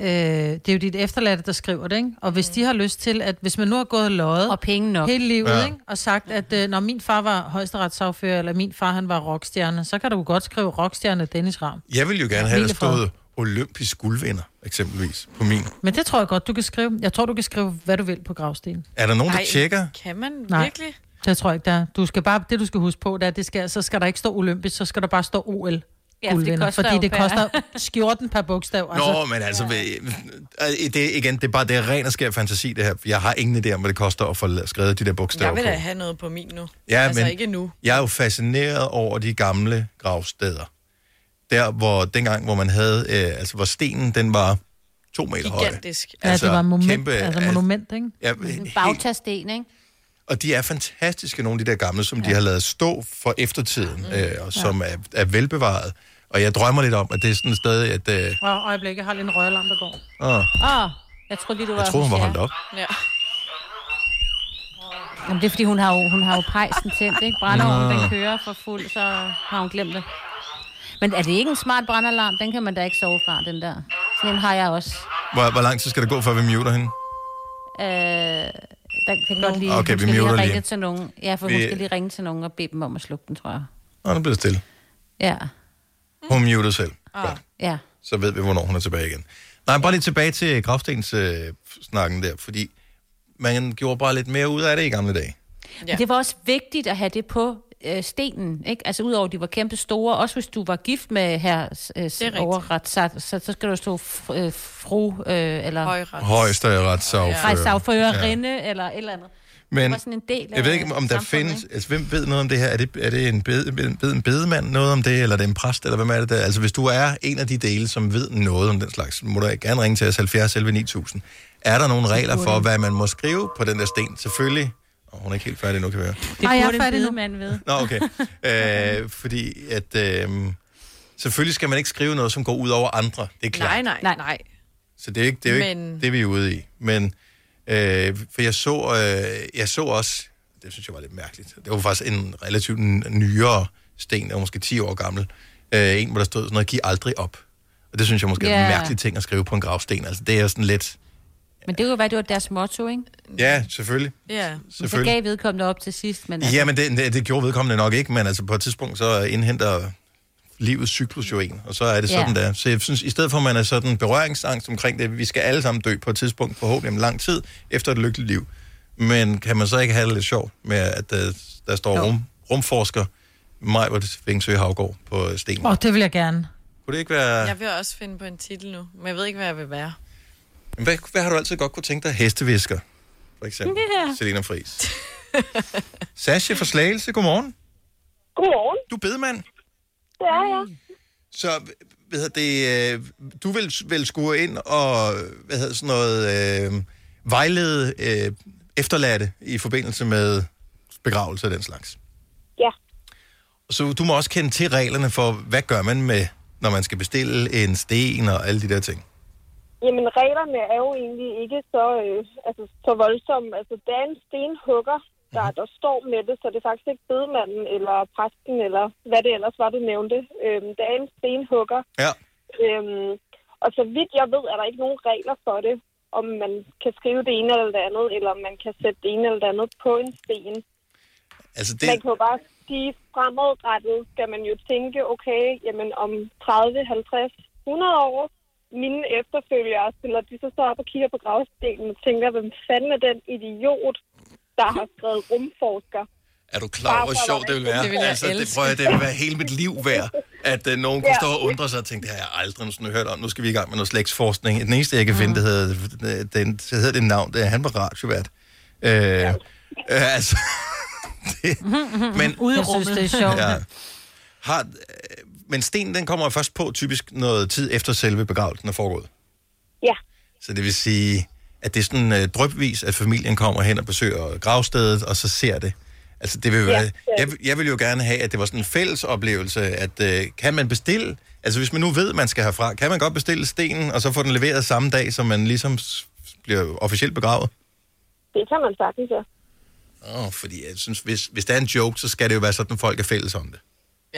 Øh, det er jo dit efterladte, der skriver det, ikke? Og hvis de har lyst til, at hvis man nu har gået og løjet og Mhm. penge nok. hele livet, Ja. ja. ikke? og sagt, at øh, når min far var højesteretssagfører, eller min far han var rockstjerne, så kan du jo godt skrive rockstjerne Dennis Ram. Jeg vil jo gerne have, at der Hvilefred. stod olympisk guldvinder, eksempelvis, på min. Men det tror jeg godt, du kan skrive. Jeg tror, du kan skrive, hvad du vil på gravstenen. Er der nogen, der tjekker? Kan man Nej. virkelig? Det tror jeg ikke, der er. Du skal bare, det du skal huske på, det er, at det skal, så skal der ikke stå olympisk, så skal der bare stå OL. Ja, for det guldvinder, koster fordi jo det per- koster skjorten per bogstav. Nå, men altså, ja. det, igen, det er bare det er ren og skær fantasi, det her. Jeg har ingen idé om, hvad det koster at få skrevet de der bogstaver Jeg vil på. da have noget på min nu. Ja, altså men- ikke nu. Jeg er jo fascineret over de gamle gravsteder. Der, hvor dengang, hvor man havde, øh, altså hvor stenen, den var to meter Gigantisk. høj. Ja, det var moment, kæmpe, altså al- monument, ikke? Ja, Bagtasten, ikke? og de er fantastiske, nogle af de der gamle, som ja. de har lavet stå for eftertiden, øh, og som er, er velbevaret. Og jeg drømmer lidt om, at det er sådan et sted, at... Øh, Og øjeblik, jeg har lige en røgalarm, der går. åh, Åh, oh, jeg tror lige, du var... jeg tror, hun var hos jer. holdt op. Ja. Jamen, det er, fordi hun har jo, hun har jo pejsen tændt, ikke? Brændeovnen, Nå. den kører for fuld, så har hun glemt det. Men er det ikke en smart brandalarm? Den kan man da ikke sove fra, den der. Sådan en har jeg også. Hvor, hvor lang tid skal det gå, før vi muter hende? Øh, der kan godt lige, Okay, hun vi skal lige muter have lige. ringet til nogen. Ja, for vi... hun Vi- skal lige ringe til nogen og bede dem om at slukke den, tror jeg. Nå, nu bliver det stille. Ja, Hun muter selv. ja. så ved vi, hvornår hun er tilbage igen. Nej, bare lige tilbage til gravstens øh, snakken der, fordi man gjorde bare lidt mere ud af det i gamle dage. Ja. Men det var også vigtigt at have det på øh, stenen, ikke? Altså udover, at de var kæmpe store, også hvis du var gift med her øh, overret, så, så, så skal du stå f- øh, fru, øh, eller... Højret. Højesteretsaffører. Rejsafførerinde, ja. eller et eller andet. det Men var sådan en øh, del jeg ved ikke, om der findes... Altså, hvem ved noget om det her? Er det, er det en, bed, ved, ved en bedemand noget om det, eller er det en præst, eller hvem er det der? Altså, hvis du er en af de dele, som ved noget om den slags, må du gerne ringe til os 70 11 9000. Er der nogle regler for, hvad man må skrive på den der sten? Selvfølgelig. Oh, hun er ikke helt færdig nu, kan vi høre. Det Ej, jeg er burde en færdig nu. bedemand ved. Nå, okay. Øh, fordi at... Øh, selvfølgelig skal man ikke skrive noget, som går ud over andre. Det er klart. Nej, nej, nej, nej. Så det er ikke det, er jo ikke Men- det vi er ude i. Men, øh, for jeg så, øh, jeg så også, det synes jeg var lidt mærkeligt, det var faktisk en relativt n- nyere sten, der var måske 10 år gammel, øh, en, hvor der stod sådan noget, giv aldrig op. Og det synes jeg måske er Ja. en mærkelig ting at skrive på en gravsten. Altså, det er sådan lidt... Men det kunne være, det var deres motto, ikke? Ja, selvfølgelig. Ja. Så Selvfølgelig. gav vedkommende op til sidst, men... altså, Ja, men det, det, det gjorde vedkommende nok ikke, men altså på et tidspunkt så indhenter livets cyklus jo en, og så er det sådan Ja. der. Så jeg synes, i stedet for at man er sådan berøringsangst omkring det, vi skal alle sammen dø på et tidspunkt, forhåbentlig om lang tid, efter et lykkeligt liv. Men kan man så ikke have det lidt sjovt med, at der, der står rum, rumforsker Majvert Vingsø Havgård på stenen? Åh, oh, det vil jeg gerne. Kunne det ikke være... Jeg vil også finde på en titel nu, men jeg ved ikke, hvad jeg vil være. Jamen, Hvad, hvad har du altid godt kunne tænke dig? Hestevisker, for eksempel. Ja. Selina Friis. Sasha fra Slagelse, godmorgen. Godmorgen. Du er bedemand. Det er jeg. Så hvad hedder det, øh, du vil vel skue ind og hvad hedder sådan noget, øh, vejlede øh, efterladte i forbindelse med begravelse og den slags. Ja. Så du må også kende til reglerne for, hvad gør man med, når man skal bestille en sten og alle de der ting. Jamen, reglerne er jo egentlig ikke så, øh, altså, så voldsomme. Altså, der er en stenhugger, der, der står med det, så det er faktisk ikke bedemanden eller præsten, eller hvad det ellers var, du nævnte. Øhm, der er en stenhugger. Ja. Øhm, og så vidt jeg ved, er der ikke nogen regler for det, om man kan skrive det ene eller det andet, eller om man kan sætte det ene eller det andet på en sten. Altså Det... Man kan jo bare sige, fremadrettet skal man jo tænke, okay, jamen om 30, 50, 100 år, mine efterfølgere, så når de så står op og kigger på gravstenen og tænker, hvem fanden er den idiot, der har skrevet rumforsker? Er du klar over, hvor sjovt det vil være? Det vil jeg altså, det, elske. prøver jeg, det vil være hele mit liv værd, at uh, nogen kunne Ja. stå og undre sig og tænke, det har jeg aldrig nogensinde hørt om. Nu skal vi i gang med noget slægtsforskning. Den eneste, jeg kan finde, det hedder, Mm. øh, den, det hedder det navn, det er, han var radiovært. Øh, ja. øh, altså, det, men, Ude i Jeg synes, rummet. det er sjovt. Har, øh, men sten, den kommer jo først på typisk noget tid efter selve begravelsen er foregået. Ja. Så det vil sige, at det er sådan øh, drøbvis, at familien kommer hen og besøger gravstedet, og så ser det. Altså, det vil jo være, jeg, jeg vil jo gerne have, at det var sådan en fælles oplevelse, at øh, kan man bestille, altså hvis man nu ved, man skal herfra, kan man godt bestille stenen, og så få den leveret samme dag, som man ligesom s- bliver officielt begravet? Det kan man sagtens, ja. Åh, fordi jeg synes, hvis, hvis der er en joke, så skal det jo være sådan, at folk er fælles om det.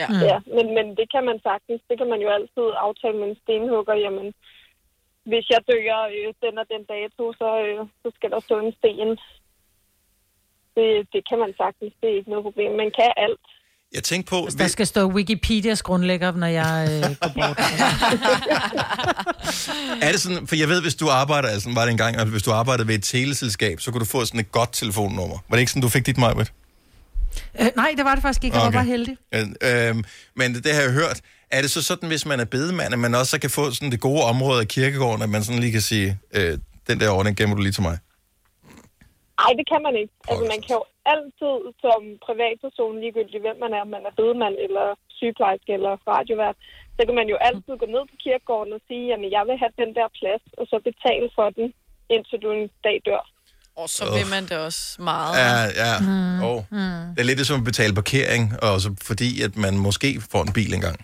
Ja, ja men, men det kan man sagtens. Det kan man jo altid aftale med en stenhugger. Jamen, hvis jeg dør øh, den og den dato, så, øh, så skal der stå en sten. Det, det kan man sagtens. Det er ikke noget problem. Man kan alt. Jeg tænkte på... Altså, Der skal stå Wikipedias grundlægger, når jeg øh, går bort. Er det sådan, for jeg ved, hvis du arbejder, altså var det engang, at hvis du arbejdede ved et teleselskab, så kunne du få sådan et godt telefonnummer. Var det ikke sådan, du fik dit, Majbert? øh, nej, det var det faktisk ikke. Jeg okay. var bare heldig. Øh, øhm, men det har jeg hørt. Er det så sådan, hvis man er bedemand, at man også så kan få sådan det gode område af kirkegården, at man sådan lige kan sige, øh, den der ordning gemmer du lige til mig? Mm. Nej, det kan man ikke. Altså, man kan jo altid som privatperson, ligegyldigt hvem man er, om man er bedemand eller sygeplejerske eller radiovært, så kan man jo altid gå ned på kirkegården og sige, at jeg vil have den der plads, og så betale for den, indtil du en dag dør. Og så vil man det også meget. Ja, ja. Mm. Mm. Oh. Mm. Det er lidt som at betale parkering, og så fordi at man måske får en bil engang.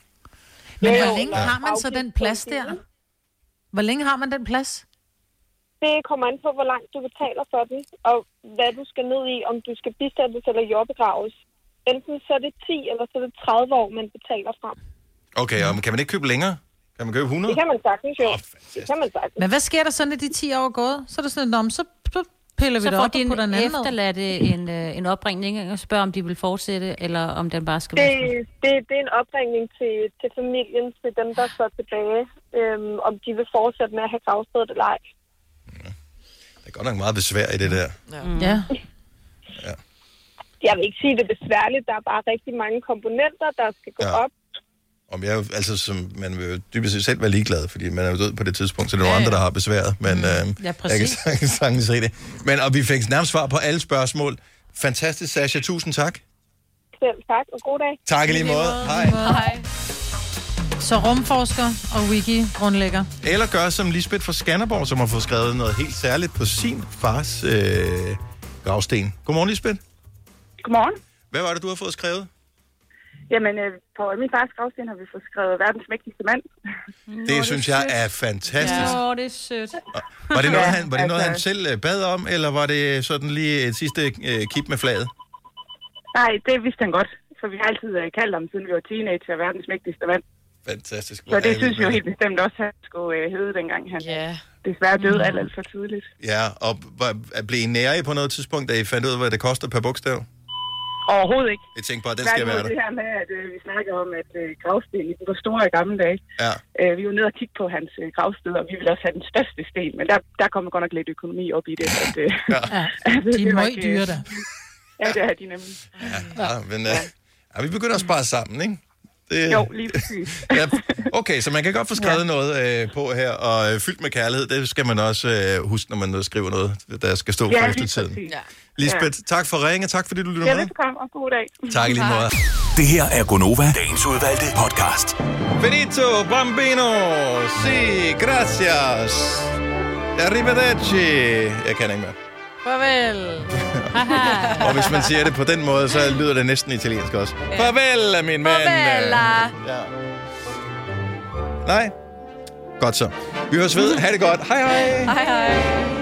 Men Jo, hvor jo, længe men har man så den plads der? Hvor længe har man den plads? Det kommer an på, hvor langt du betaler for den, og hvad du skal ned i, om du skal bistandes eller jordbegraves. Enten så er det 10, eller så er det 30 år, man betaler frem. Okay, og kan man ikke købe længere? Kan man købe 100? Mm. Det kan man sagtens jo. det kan man sagtens. Men hvad sker der så, når de 10 år er gået? Så er der sådan, et, "Nå, men så, så piller vi Så det får op de og en putter en anden med. efterladt øh, en, øh, en opringning ikke? og spørger, om de vil fortsætte, eller om den bare skal Det, være slut. det, det er en opringning til, til familien, til dem, der står tilbage, øhm, om de vil fortsætte med at have gravstedet eller ej. Der er godt nok meget besvær i det der. Mm. Ja. Jeg vil ikke sige, det er besværligt. Der er bare rigtig mange komponenter, der skal gå ja. op. Om jeg, er jo- altså, som, man vil jo dybest set selv være ligeglad, fordi man er jo død på det tidspunkt, så det er nogle andre, der har besværet. Mm. Men øh, Ja, jeg kan præcis. sagtens- sagtens se det. Men, og vi fik nærmest svar på alle spørgsmål. Fantastisk, Sasha. Tusind tak. Selv tak, og god dag. Tak i lige måde. Hej. Hej. Så rumforsker og wiki-grundlægger. Eller gør som Lisbeth fra Skanderborg, som har fået skrevet noget helt særligt på sin fars øh, gravsten. Godmorgen, Lisbeth. Godmorgen. Hvad var det, du har fået skrevet? Jamen, øh, på min fars gravsten har vi fået skrevet verdens mægtigste mand. det, synes jeg er fantastisk. Åh, det er sødt. Var det noget, Ja, han, var det noget altså- han selv øh, bad om, eller var det sådan lige et sidste øh, kip med flaget? Nej, det vidste han godt, for vi har altid øh, kaldt ham, siden vi var teenager, verdens mægtigste mand. Fantastisk. Hvor Så er det I synes med jeg jo helt bestemt også, at han skulle øh, hedde dengang han yeah. desværre Mm. døde alt, alt for tidligt. Ja, og var, blev I nære på noget tidspunkt, da I fandt ud af, hvad det koster per bogstav? Overhovedet ikke. Jeg tænkte bare, den skal Tværtimod, være der. det her med, at øh, vi snakker om, at øh, gravstenen den var stor i gamle dage. Ja. Øh, vi var nede og kigge på hans øh, gravsted, og vi ville også have den største sten, men der, der kommer godt nok lidt økonomi op i det. At, øh, ja. de er meget dyre, da. øh, Ja, det er de nemlig. Ja, ja, men, øh, ja, vi begynder at spare sammen, ikke? Det, Jo, lige præcis. ja, okay, så man kan godt få skrevet ja. noget øh, på her, og øh, fyldt med kærlighed, det skal man også øh, huske, når man øh, skriver noget, der skal stå Ja, for lige eftertiden. præcis. Ja. Lisbeth, tak for ringen, tak fordi du lytter Ja, med. velbekomme, og god dag. Tak i lige måde. Det her er Gonova, dagens udvalgte podcast. Benito Bambino, si, gracias, arrivederci. Jeg kan ikke mere. Farvel. Og hvis man siger det på den måde, så lyder det næsten italiensk også. Farvel, min mand. Farvel. Ja. Nej. Godt så. Vi høres ved. Ha' det godt. Hej hej. Hej, hej.